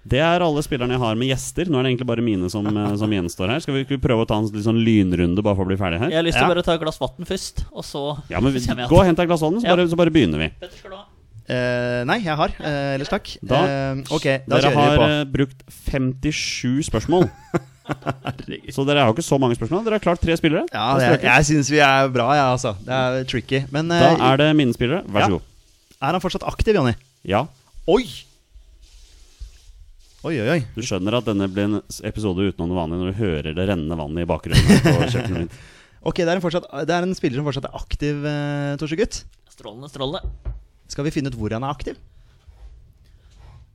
Det er alle spillerne jeg har med gjester. Nå er det egentlig bare mine som, eh, som gjenstår her. Skal vi ikke prøve å ta en litt sånn lynrunde bare for å bli ferdig her? Jeg har lyst til Ja. å bare ta et glass vann først, og så Ja, men vi, Kommer jeg Gå og hent deg et glass vann, så, Ja. bare- så bare begynner vi. Petter skal du ha. Eh, nei, jeg har. Eh, ellers takk. Da, Eh, ok, da dere kjører har vi på. eh, brukt 57 spørsmål. så dere har jo ikke så mange spørsmål. Dere har klart tre spillere. Ja, Det er jeg, strøket. jeg syns vi er bra, jeg, altså. Det er tricky. Men eh, da er det mine spillere. Vær så Ja. god. er han fortsatt aktiv, Jonny? Ja, Oi! Oi, oi, oi. du skjønner at denne blir en s- episode utenom det vanlige når du hører det rennende vannet i bakgrunnen. her på kjøkkenet mitt. Ok, det er, en fortsatt, det er en spiller som fortsatt er aktiv, eh, Torsegutt. Strålende, strålende. Skal vi finne ut hvor han er aktiv?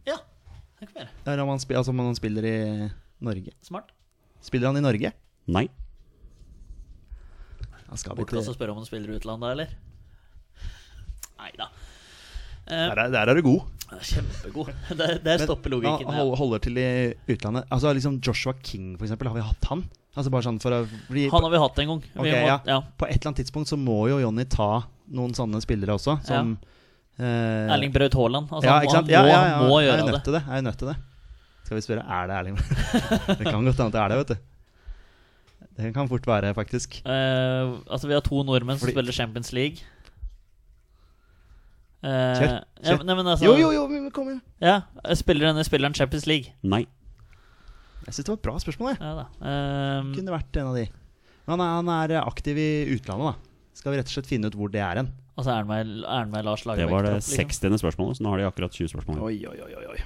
Ja. Det kan vi gjøre. Eller om han, spi- altså om han spiller i Norge. Smart. Spiller han i Norge? Nei. Han skal vi Bort til til oss og spørre om han spiller i utlandet, eller? Nei da. der, er, der er du god. Eh, Kjempegod. Der, der Men stopper logikken. Han Ja. hol- holder til i utlandet. Altså liksom Joshua King, for eksempel. Har vi hatt han? Altså bare sånn for å bli Han har vi hatt en gang. Vi Ok, må, ja. ja. På et eller annet tidspunkt så må jo Jonny ta noen sånne spillere også, som eh, Erling Braut Haaland. Altså, ja, han, ikke han sant? må, Ja, ja, ja. han må jeg er gjøre nødt det. til det. Jeg er nødt til det. Skal vi spørre er det Erling Det kan godt hende at det er det, vet du. Det kan fort være, faktisk. Eh, altså, vi har to nordmenn som Fordi- spiller Champions League. Eh, Kjør, Ja, kjør. men- nei, men altså, Jo, jo, jo, men kom igjen. Ja, spiller denne spilleren Champions League? Nei. Jeg syns det var et bra spørsmål. Jeg. Ja da. Ehm, Kunne vært en av de. Men han er, han er aktiv i utlandet, da. Skal vi rett og slett finne ut hvor det er hen. og så er han med, er han med Lars Lagerbäck. Det var det Topp, 60. liksom. spørsmålet, så nå har de akkurat 20 spørsmål. Oi, oi, oi, oi, oi.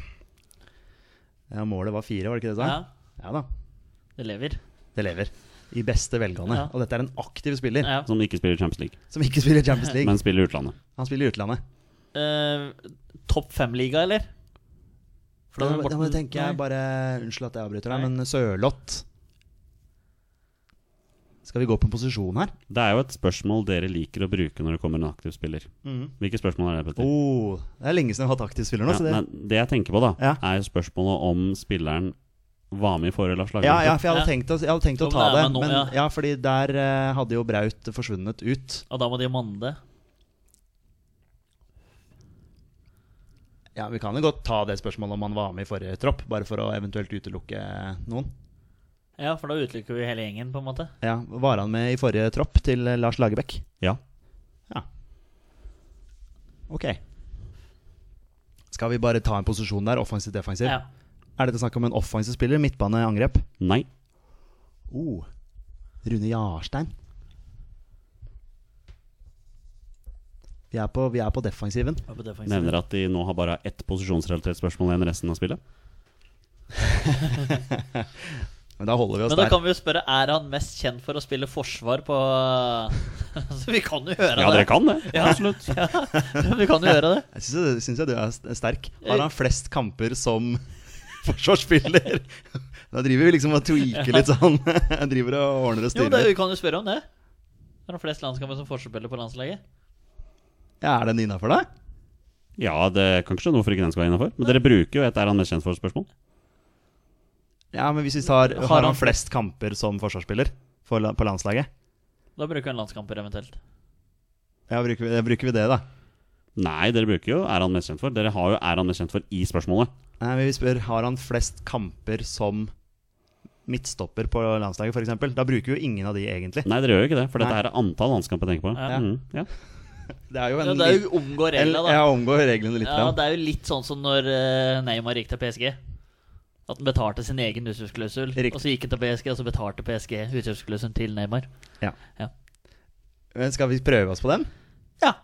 Ja, målet var fire, var det ikke det du sa? Ja, Ja da. det lever. Det lever. I beste velgående. Ja. Og dette er en aktiv spiller Ja. Som ikke spiller Champions League, som ikke spiller Champions League. men spiller i utlandet. Han spiller i utlandet. Eh, Topp fem-liga, eller? For Da, da er da, Morten- da tenker jeg Nei. bare Unnskyld at jeg avbryter deg, Nei. men Sørloth Skal vi gå på en posisjon her? Det er jo et spørsmål dere liker å bruke når det kommer en aktiv spiller. Hvilke spørsmål er det, Petter? Oh, det er lenge siden vi har hatt aktiv spiller Mm. nå. ja, så det, men det jeg tenker på, da, Ja. er jo spørsmålet om spilleren var med i forrige Lars ja, ja, Lagerbäck. for jeg hadde Ja. tenkt å, jeg hadde tenkt å Jo, ta men det det. er med nå, Men ja. ja, fordi der eh, hadde jo Braut forsvunnet ut. Og da må de mande. Ja, Vi kan jo godt ta det spørsmålet om han var med i forrige tropp, bare for å eventuelt utelukke noen. Ja, for da utelukker vi hele gjengen, på en måte. Ja, Var han med i forrige tropp til eh, Lars Lagerbäck? Ja. Ok. Skal vi bare ta en posisjon der, offensiv-defensiv? Ja. Er dette snakk om en offensiv spiller, midtbaneangrep? Nei. Oh. Rune Jarstein. Vi er på, vi er på defensiven. Hva er på defensiven? Nevner at de nå har bare ett posisjonsrelatert spørsmål igjen resten av spillet. Men da holder vi oss Men da der. kan vi jo spørre Er han mest kjent for å spille forsvar på Så vi kan jo høre Ja, det. dere kan det. Ja. Absolutt. vi kan jo høre det. Jeg syns, syns jeg du er s- sterk. Har han flest kamper som forsvarsspiller? Da driver vi liksom og tweaker litt sånn. Jeg driver og ordner og Jo, det, styrer. vi kan jo spørre om det. Det er de fleste landskamper som forsvarsspiller på landslaget. Ja, er den innafor deg? Ja, det kan ikke skjønne hvorfor ikke den skal være innafor. Men dere bruker jo et er han mest kjent for spørsmål. Ja, men hvis vi tar Har Har han- han flest kamper som forsvarsspiller for, la- på landslaget? Da bruker han landskamper eventuelt. Ja, bruker vi, bruker vi det, da? Nei, dere bruker jo er han mest kjent for. Dere har jo er han mest kjent for i spørsmålet. Nei, men vi spør Har han flest kamper som midtstopper på landslaget, f.eks.? Da bruker jo ingen av de, egentlig. Nei, dere gjør jo ikke det, for dette Nei. her er antall landskamper jeg tenker på. Ja. Mm, ja. Det er jo Ja, det er jo omgå regla, da. Jeg omgår reglene litt. Ja, grann. det er jo litt sånn som når eh, Neymar gikk til PSG. At han betalte sin egen utkjøpsklausul. Riktig. Og så gikk han til PSG, og så betalte PSG utkjøpsklausulen til Neymar. Ja. Ja. Men skal vi prøve oss på den? ja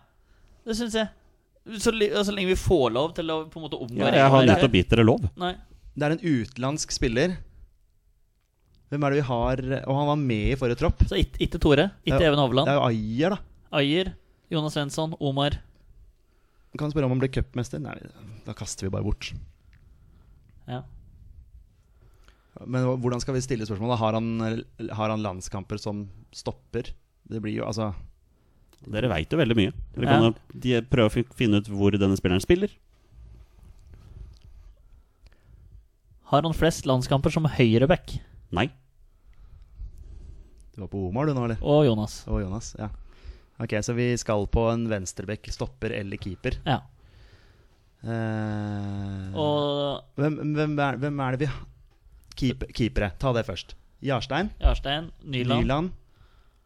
det syns jeg. Så, li- og så lenge vi får lov til å på en måte omgå Ja, jeg har reglene. nettopp gitt dere lov. Nei. Det er en utenlandsk spiller. Hvem er det vi har Og han var med i forrige tropp. Så ikke ikke Tore. Ikke Ja. Even Det Hovland. er jo Ayer, da. Ayer. Jonas Svensson. Omar. Vi Kan spørre om han ble cupmester. Nei, da kaster vi bare bort. Ja. Men hva- hvordan skal vi stille spørsmålet? Har han, har han landskamper som stopper? Det blir jo altså Dere veit jo veldig mye. Dere kan Ja. jo de prøve å fin- finne ut hvor denne spilleren spiller. Har han flest landskamper som høyreback? Nei. Du var på Omar, du nå, eller? Og Jonas. Og Jonas, ja. Ok, så vi skal på en venstrebekk, stopper eller keeper. Ja. Eh, Og hvem, hvem, er, hvem er det vi ha- Keep, Keepere, ta det først. Jarstein, Jarstein. Nyland. Nyland.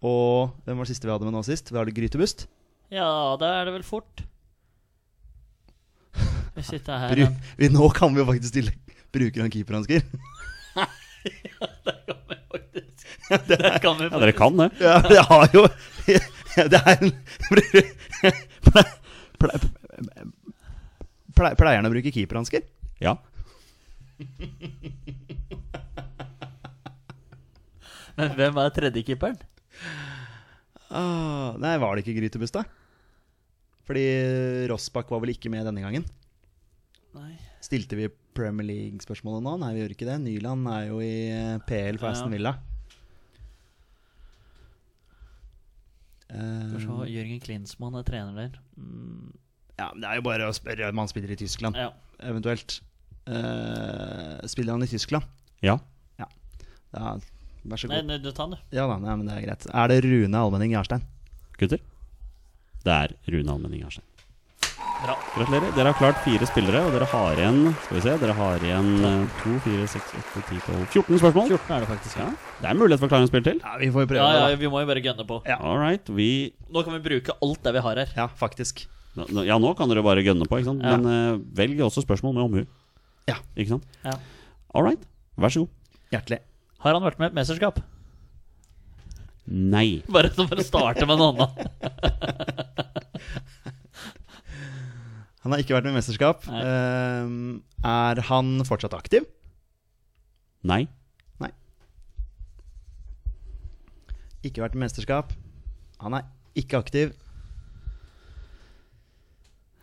og hvem var det siste vi hadde med nå sist? Var det Grytebust? Ja, da er det vel fort. Vi sitter her Bru, igjen. vi, nå kan vi jo faktisk stille Bruker han keeperhansker? Det kan vi faktisk. Det kan vi Ja, dere kan det. Ja, det har jo Det er en Ple- ple- ple- Pleier han å bruke keeperhansker? Ja. Men hvem er tredjekeeperen? Ah, nei, var det ikke Grytebustad? Fordi Rossbakk var vel ikke med denne gangen. Nei. Stilte vi Premier League-spørsmålet nå? Nei, vi gjorde ikke det. Nyland er jo i eh, PL for Aston Ja. Villa. Skal vi Eh, se, Jørgen Klinsmann er trener der. Mm, ja, men det er jo bare å spørre om han spiller i Tyskland, ja. eventuelt. Eh, spiller han i Tyskland? Ja. Ja, vær så Nei, god. nei, du tar den, du. Ja da, nei, men det er greit. Er det Rune Almenning Jarstein? Gutter, det er Rune Almenning Arsen. Bra. Gratulerer. Dere har klart fire spillere, og dere har igjen Skal vi se, dere har igjen eh, to, fire, seks, åtte, ti, tolv 14 spørsmål. 14 er det faktisk. Ja, Det er mulighet for å klare en spill til. Ja, vi får jo prøve Ja, ja, det, vi må jo bare gønne på. Ja. All right. Vi Nå kan vi bruke alt det vi har her. da. Ja, faktisk. Nå- nå- Ja, nå kan dere bare gønne på, ikke sant? Ja. Men eh, velg også spørsmål med omhu. Ja. Ikke sant? Ja. All right. Vær så god. Hjertelig. Har han vært med i et mesterskap? Nei. Bare så for å starte med en annen. Han har ikke vært med i mesterskap. Nei. Ehm, er han fortsatt aktiv? Nei. Ikke vært med i mesterskap. Han er ikke aktiv.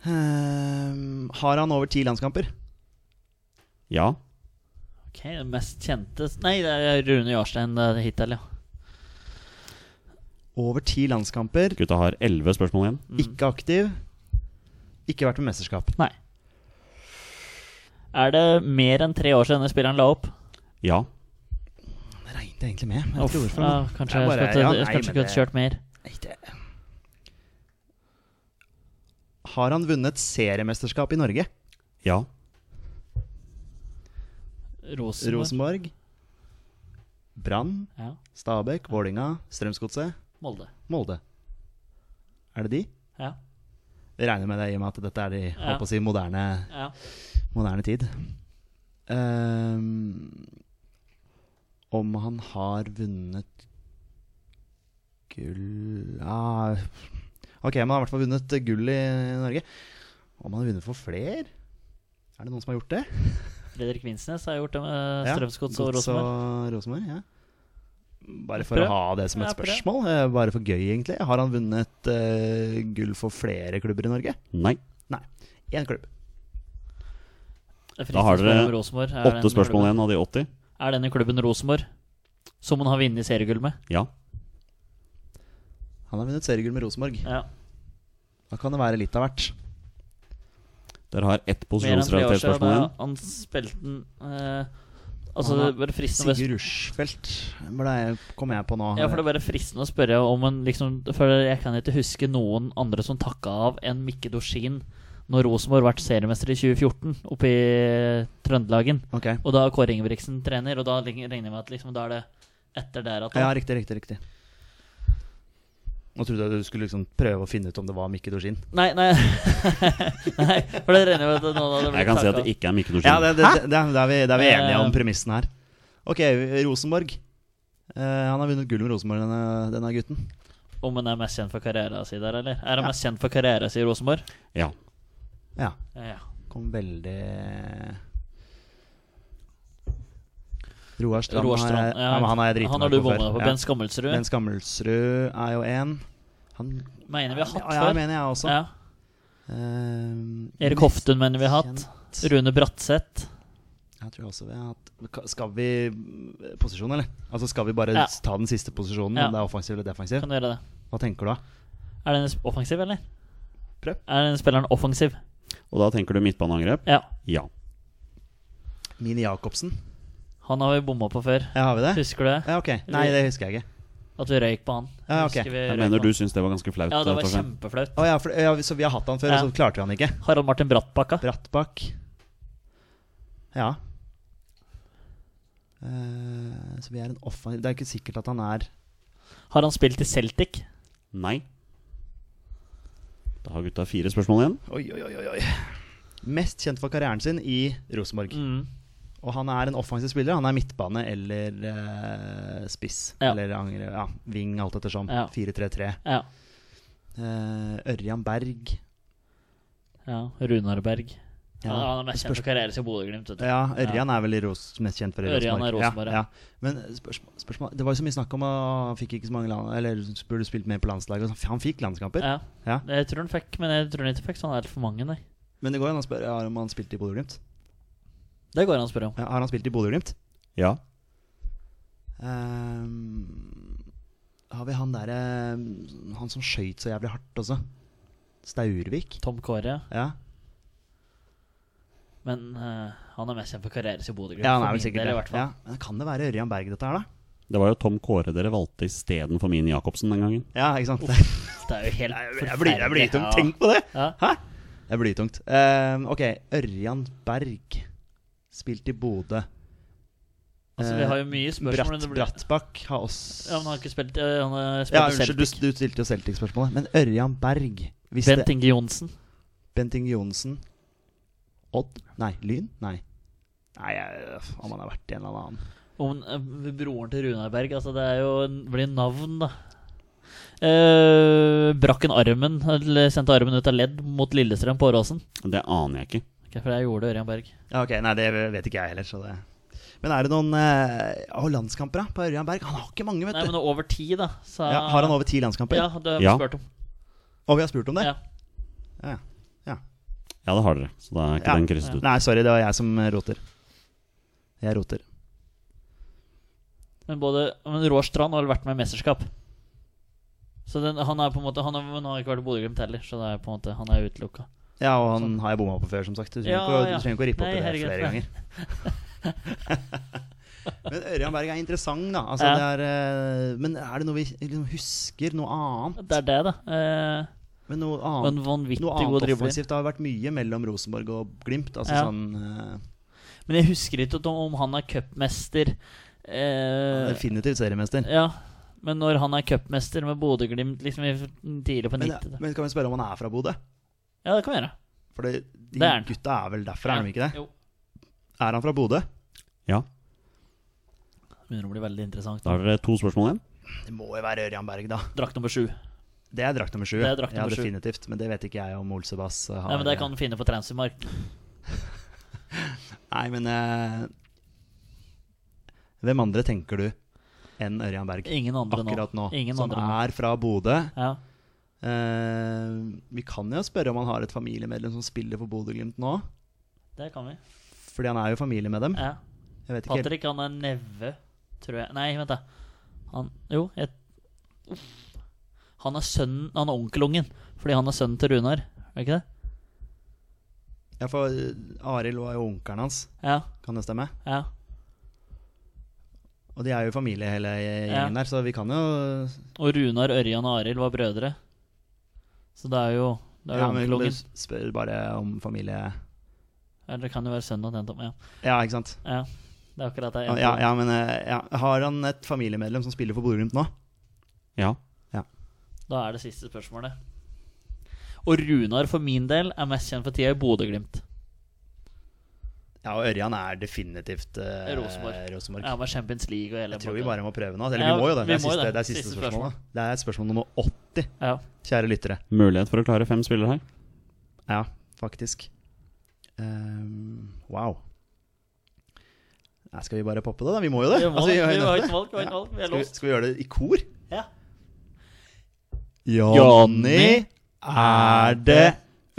Ehm, har han over ti landskamper? Ja. Ok, den mest kjente Nei, det er Rune Jarstein eh, hittil, ja. Over ti landskamper, Gutta har elleve spørsmål igjen. Mm. ikke aktiv. Ikke vært med i mesterskap. Nei. Er det mer enn tre år siden denne spilleren la opp? Ja. Det regnet jeg egentlig med. Jeg vet Uff, ikke hvorfor. ja, men- Det er kanskje jeg bare- skulle ja, jeg nei, kanskje men skulle kjørt mer. det- nei, det- Har han vunnet seriemesterskap i Norge? Ja. Rosenborg. Rosenborg, Brann, Ja. Stabæk, Vålinga, Strømsgodset, Molde. Molde. Er det de? Ja. Jeg regner med det i og med at dette er i holdt på å si, moderne, ja. moderne tid. Ehm, om han har vunnet gull ah. Ok, men han har i hvert fall vunnet gull i Norge. Om han har vunnet for flere? Er det noen som har gjort det? Fredrik Vinsnes har gjort det med Ja, Strømsgods og Gods Rosenborg. Rosenborg, ja. Bare for Prøv. å ha det som et Ja, prøv. spørsmål, eh, bare for gøy, egentlig. Har han vunnet eh, gull for flere klubber i Norge? Nei. Nei, én klubb. Da har dere Åtte spørsmål igjen av de 80. Er denne klubben Rosenborg? Som han har vunnet seriegull med? Ja. Han har vunnet seriegull med Rosenborg. Ja. Da kan det være litt av hvert. Dere har ett Mer enn tre år posisjonsrelatert siden. spørsmål Da igjen. han spilte den eh, Altså, Han det har er bare fristende å Sigurd Rushfeldt ble- kom jeg på nå. Ja, for det er bare fristende å spørre om en liksom For jeg kan ikke huske noen andre som takka av enn Mikke Dorsin når Rosenborg ble seriemester i 2014 oppe i Trøndelagen. Ok. Og da er Kåre Ingebrigtsen trener, og da regner jeg med at liksom, da er det etter der at Ja, han riktig, riktig, riktig. Nå trodde jeg du skulle liksom prøve å finne ut om det var Mikke Dorsin. Nei, nei. nei for det regner jeg med at noen hadde blitt Jeg kan si at takket det ikke er Mikke Ja, Dorsin. det, det, det, det, er vi, det er vi enige om Eh. premissen her. Ok, Rosenborg. Eh, han har vunnet gull med Rosenborg, denne, denne gutten. av. Om han er mest kjent for karrieren sin der, eller? Er han mest kjent for karrieren sin i Rosenborg? Ja. Ja. Ja. Kom veldig Roar Strand, Roar Strand. har jeg- ja, men han har jeg driti han meg har du på bomma før. på. Ja. Ben Skammelsrud Bent Skammelsrud er jo en. Han mener vi har hatt ja, før. jeg mener sånn. jeg også. ja. Eh, Erik Hoftun mener vi har hatt. kjent. Rune Bratseth. Jeg tror også vi har hatt Ka- Skal vi posisjon, eller? Altså Skal vi bare Ja. ta den siste posisjonen, Ja. om det er offensiv eller defensiv? Kan du gjøre det? Hva tenker du da? Er den offensiv, eller? Prøv. Er den spilleren offensiv? Og da tenker du midtbaneangrep? Ja. Ja. Mini Jacobsen? Han har vi bomma på før. Ja, har vi det? Husker du det? Ja, ok. Nei, det husker jeg ikke. At vi røyk på han. Ja, ok. Husker vi Jeg røyk mener på du han. syns det var ganske flaut? eh, Ja, det var Torstein. kjempeflaut. Å ja, for, ja, så vi har hatt han før, Ja. og så klarte vi han ikke. Harald Martin Brattbakka. Brattbakk. Ja. Eh, så vi er en offensiv Det er ikke sikkert at han er Har han spilt i Celtic? Nei. Da har gutta fire spørsmål igjen. Oi, oi, oi, oi. Mest kjent for karrieren sin i Rosenborg. Mm. Og han er en offensiv spiller. Han er midtbane eller eh, spiss. Ja. Eller angre, ja, ving, alt ettersom. Ja. 4-3-3. Ja. Eh, Ørjan Berg. ja. Runar Berg. Ja. Ja, han er mest kjent for karriere sin i Bodø-Glimt. vet du. Ja, Ørjan er vel i Ros mest kjent for i Ørjan er Rosenborg, ja, ja. Men spørsmål, spørsmål Det var jo så mye snakk om at han fikk ikke så mange land Eller burde spilt mer på landslaget. og sånn. Han fikk landskamper. Ja. Ja. Jeg tror han fikk, men jeg tror han ikke fikk sånn altfor mange, nei. Men det går jo an å spørre har han spilt i Bodø-Glimt. Det går an å spørre om. Ja, har han spilt i Bodø-Glimt? Ja. Ehm, har vi han derre Han som skøyt så jævlig hardt også. Staurvik? Tom Kåre. Ja. Men eh, han er mest kjent for karriere sin i Bodø-Glimt. ja, han for er min vel sikkert del i det. hvert fall. Ja. Men kan det være Ørjan Berg, dette her, da? Det var jo Tom Kåre dere valgte istedenfor min Jacobsen den gangen. Ja, ikke sant? Det er jo helt Jeg blir, jeg blir sånn forferdelig. gitt tungt. Ja. Tenk på det! Ja. Hæ? Det blir tungt. Ehm, ok, Ørjan Berg. Spilt i Bodø. Altså, vi har jo mye spørsmål. men Eh, Bratt, det blir- Brattbakk har også Ja, men han har ikke spilt eh, Han har spilt Ja, i unnskyld, Celtic. du, du stilte jo Celtic-spørsmålet. Men Ørjan Berg hvis Bent det- Inge Johnsen. Bent Inge Johnsen. Odd? Nei. Lyn? Nei. Nei, jeg, om han har vært i en eller annen Om eh, broren til Runar Berg. Altså, det er jo en- blir navn, da. Eh, brakk en armen, eller sendte armen ut av ledd mot Lillestrøm på Åråsen. Det aner jeg ikke. Ok, for jeg gjorde Ørjan Berg. Ja, ok, Nei, det vet ikke jeg heller, så det Men er det noen eh, å, landskamper da, på Ørjan Berg? Han har ikke mange, vet Nei, du. men over ti, da. Så, Ja, har han over ti landskamper? Ja, det har vi Ja. spurt om. Og vi har spurt om det? Ja. ja. ja. Ja, det har dere. Så da er ikke Ja. den krysset ut. Nei, sorry, det var jeg som roter. Jeg roter. Men både men Roar Strand har vel vært med i mesterskap. Så den, han er på en måte Han har, han har ikke vært i Bodø-Glimt heller, så det er på en måte, han er utelukka. Ja, og han har jeg bomma på før, som sagt. Du trenger Sånn. Ja, ikke, å- ja. du trenger ikke å rippe opp i Nei, det herregud, flere nei. ganger. men Ørjan Berg er interessant, da. Altså, det Ja. er, eh, men er det noe vi liksom husker? Noe annet? Det er det, da. Eh, Men noe og en annet, vanvittig noe god annet dribler. offensivt? Det har vært mye mellom Rosenborg og Glimt. Altså Ja. sånn eh, Men jeg husker ikke om, om han er cupmester. Eh, Definitivt seriemester. ja, men når han er cupmester med Bodø-Glimt liksom i- tidlig på Men, 90 men kan vi spørre om han er fra Bodø? Ja, det kan vi gjøre. For det, de Det er han. gutta er vel derfra, er de ikke det? Jo. Er han fra Bodø? Ja, Det begynner å bli veldig interessant. da har dere to spørsmål igjen. Det må jo være Ørjan Berg, da. Drakt nummer sju. Det er drakt nummer sju. Det er drakt ja, nummer sju. definitivt. Men det vet ikke jeg om Olsebass har Nei, men Det kan du finne på Transfermark. Nei, men eh, Hvem andre tenker du enn Ørjan Berg Ingen andre nå. akkurat nå? Ingen som andre nå. er fra Bodø. Ja. Eh, vi kan jo spørre om han har et familiemedlem som spiller for Bodø-Glimt nå. Det kan vi. Fordi han er jo familie med dem. Ja. Jeg vet ikke helt. Patrick, han er neve, tror jeg. Nei, vent, da. Han Jo, jeg Uff. Han er sønnen Han er onkelungen, fordi han er sønnen til Runar. Er det ikke det? Ja, for eh, Arild var jo onkelen hans, Ja. kan det stemme? ja. Og de er jo familie hele Ja. gjengen der, så vi kan jo Og Runar, Ørjan og Arild var brødre. Så det er jo Det er jo Ja, men onkelungen. du spør bare om familie Eller det kan jo være sønnen til Tom. Ja. Ja, ikke sant? ja. Det er akkurat det. Ja, ja, ja, men eh, ja. Har han et familiemedlem som spiller for Bodø-Glimt nå? Ja. Da er det siste spørsmålet. Og Runar, for min del, er mest kjent for tida i Bodø-Glimt. Ja, og Ørjan er definitivt eh, Rosenborg. Rosenborg. Ja, med Champions League og hele Jeg tror vi bare pakka. må prøve nå. Eller Ja, vi må jo det. vi Det er må jo siste, det. det er siste, Siste spørsmål. da. Det er spørsmål nummer 80, Ja. kjære lyttere. Mulighet for å klare fem spillere her. Ja, faktisk. Ehm, wow. Nei, skal vi bare poppe det, da? Vi må jo det. Vi må Altså, det. gjør jo Vi det. har ikke valg, vi har ikke valg. Vi er Skal, vi, låst. skal vi gjøre det i kor? Ja. Jonny, er det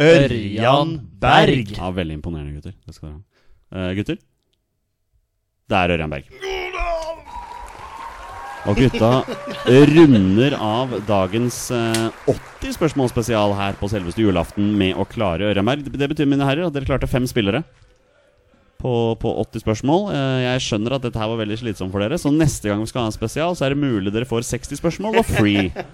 Ørjan Berg? Ja, Veldig imponerende, gutter. Det skal dere ha. Eh, gutter? Det er Ørjan Berg. Og gutta runder av dagens eh, 80 spørsmål spesial her på selveste julaften med å klare Ørjan Berg. Det betyr, mine herrer, at dere klarte fem spillere på, på 80 spørsmål. Eh, Jeg skjønner at dette her var veldig slitsomt for dere, så neste gang vi skal ha en spesial, så er det mulig dere får 60 spørsmål og free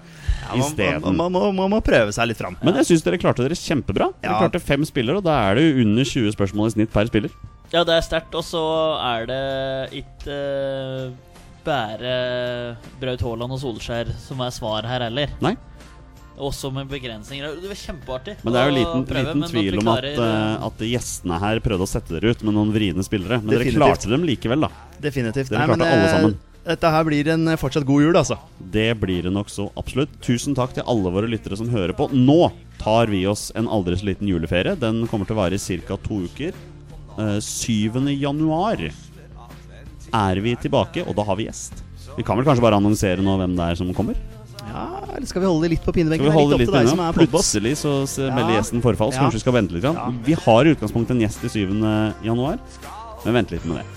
Ja, man, man, isteden. man, må- man må prøve seg litt fram. Men jeg syns dere klarte dere kjempebra. Dere Ja. klarte fem spillere, og da er det jo under 20 spørsmål i snitt per spiller. Ja, det er sterkt. Og så er det ikke eh, bare Braut Haaland og Solskjær som er svar her heller. Nei. Også med begrensninger. Det var kjempeartig. Men det er jo å liten, prøve, men liten man tvil om at, klarer- eh, at gjestene her prøvde å sette dere ut med noen vriene spillere. Men Definitivt. dere klarte dem likevel, da. Definitivt. Dere klarte alle eh, sammen. Dette her blir en eh, fortsatt god jul, altså. Det blir det nok så absolutt. Tusen takk til alle våre lyttere som hører på. Nå tar vi oss en aldri så liten juleferie. Den kommer til å vare i ca. to uker. Eh, 7. januar er vi tilbake, og da har vi gjest. Vi kan vel kanskje bare annonsere nå hvem det er som kommer? Ja, eller skal vi holde det litt på pinebenken? Skal vi holde det litt det er litt opp til deg som unna? er podboss. Plutselig så s- melder Ja. gjesten forfall, så Ja. kanskje vi skal vente litt. Grann. Vi har i utgangspunktet en gjest i 7. januar, men vent litt med det.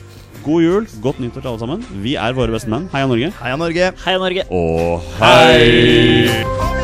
God jul, godt nyttår til alle sammen. Vi er våre beste menn. Heia Norge. Heia Norge! Heia Norge! Og hei! Å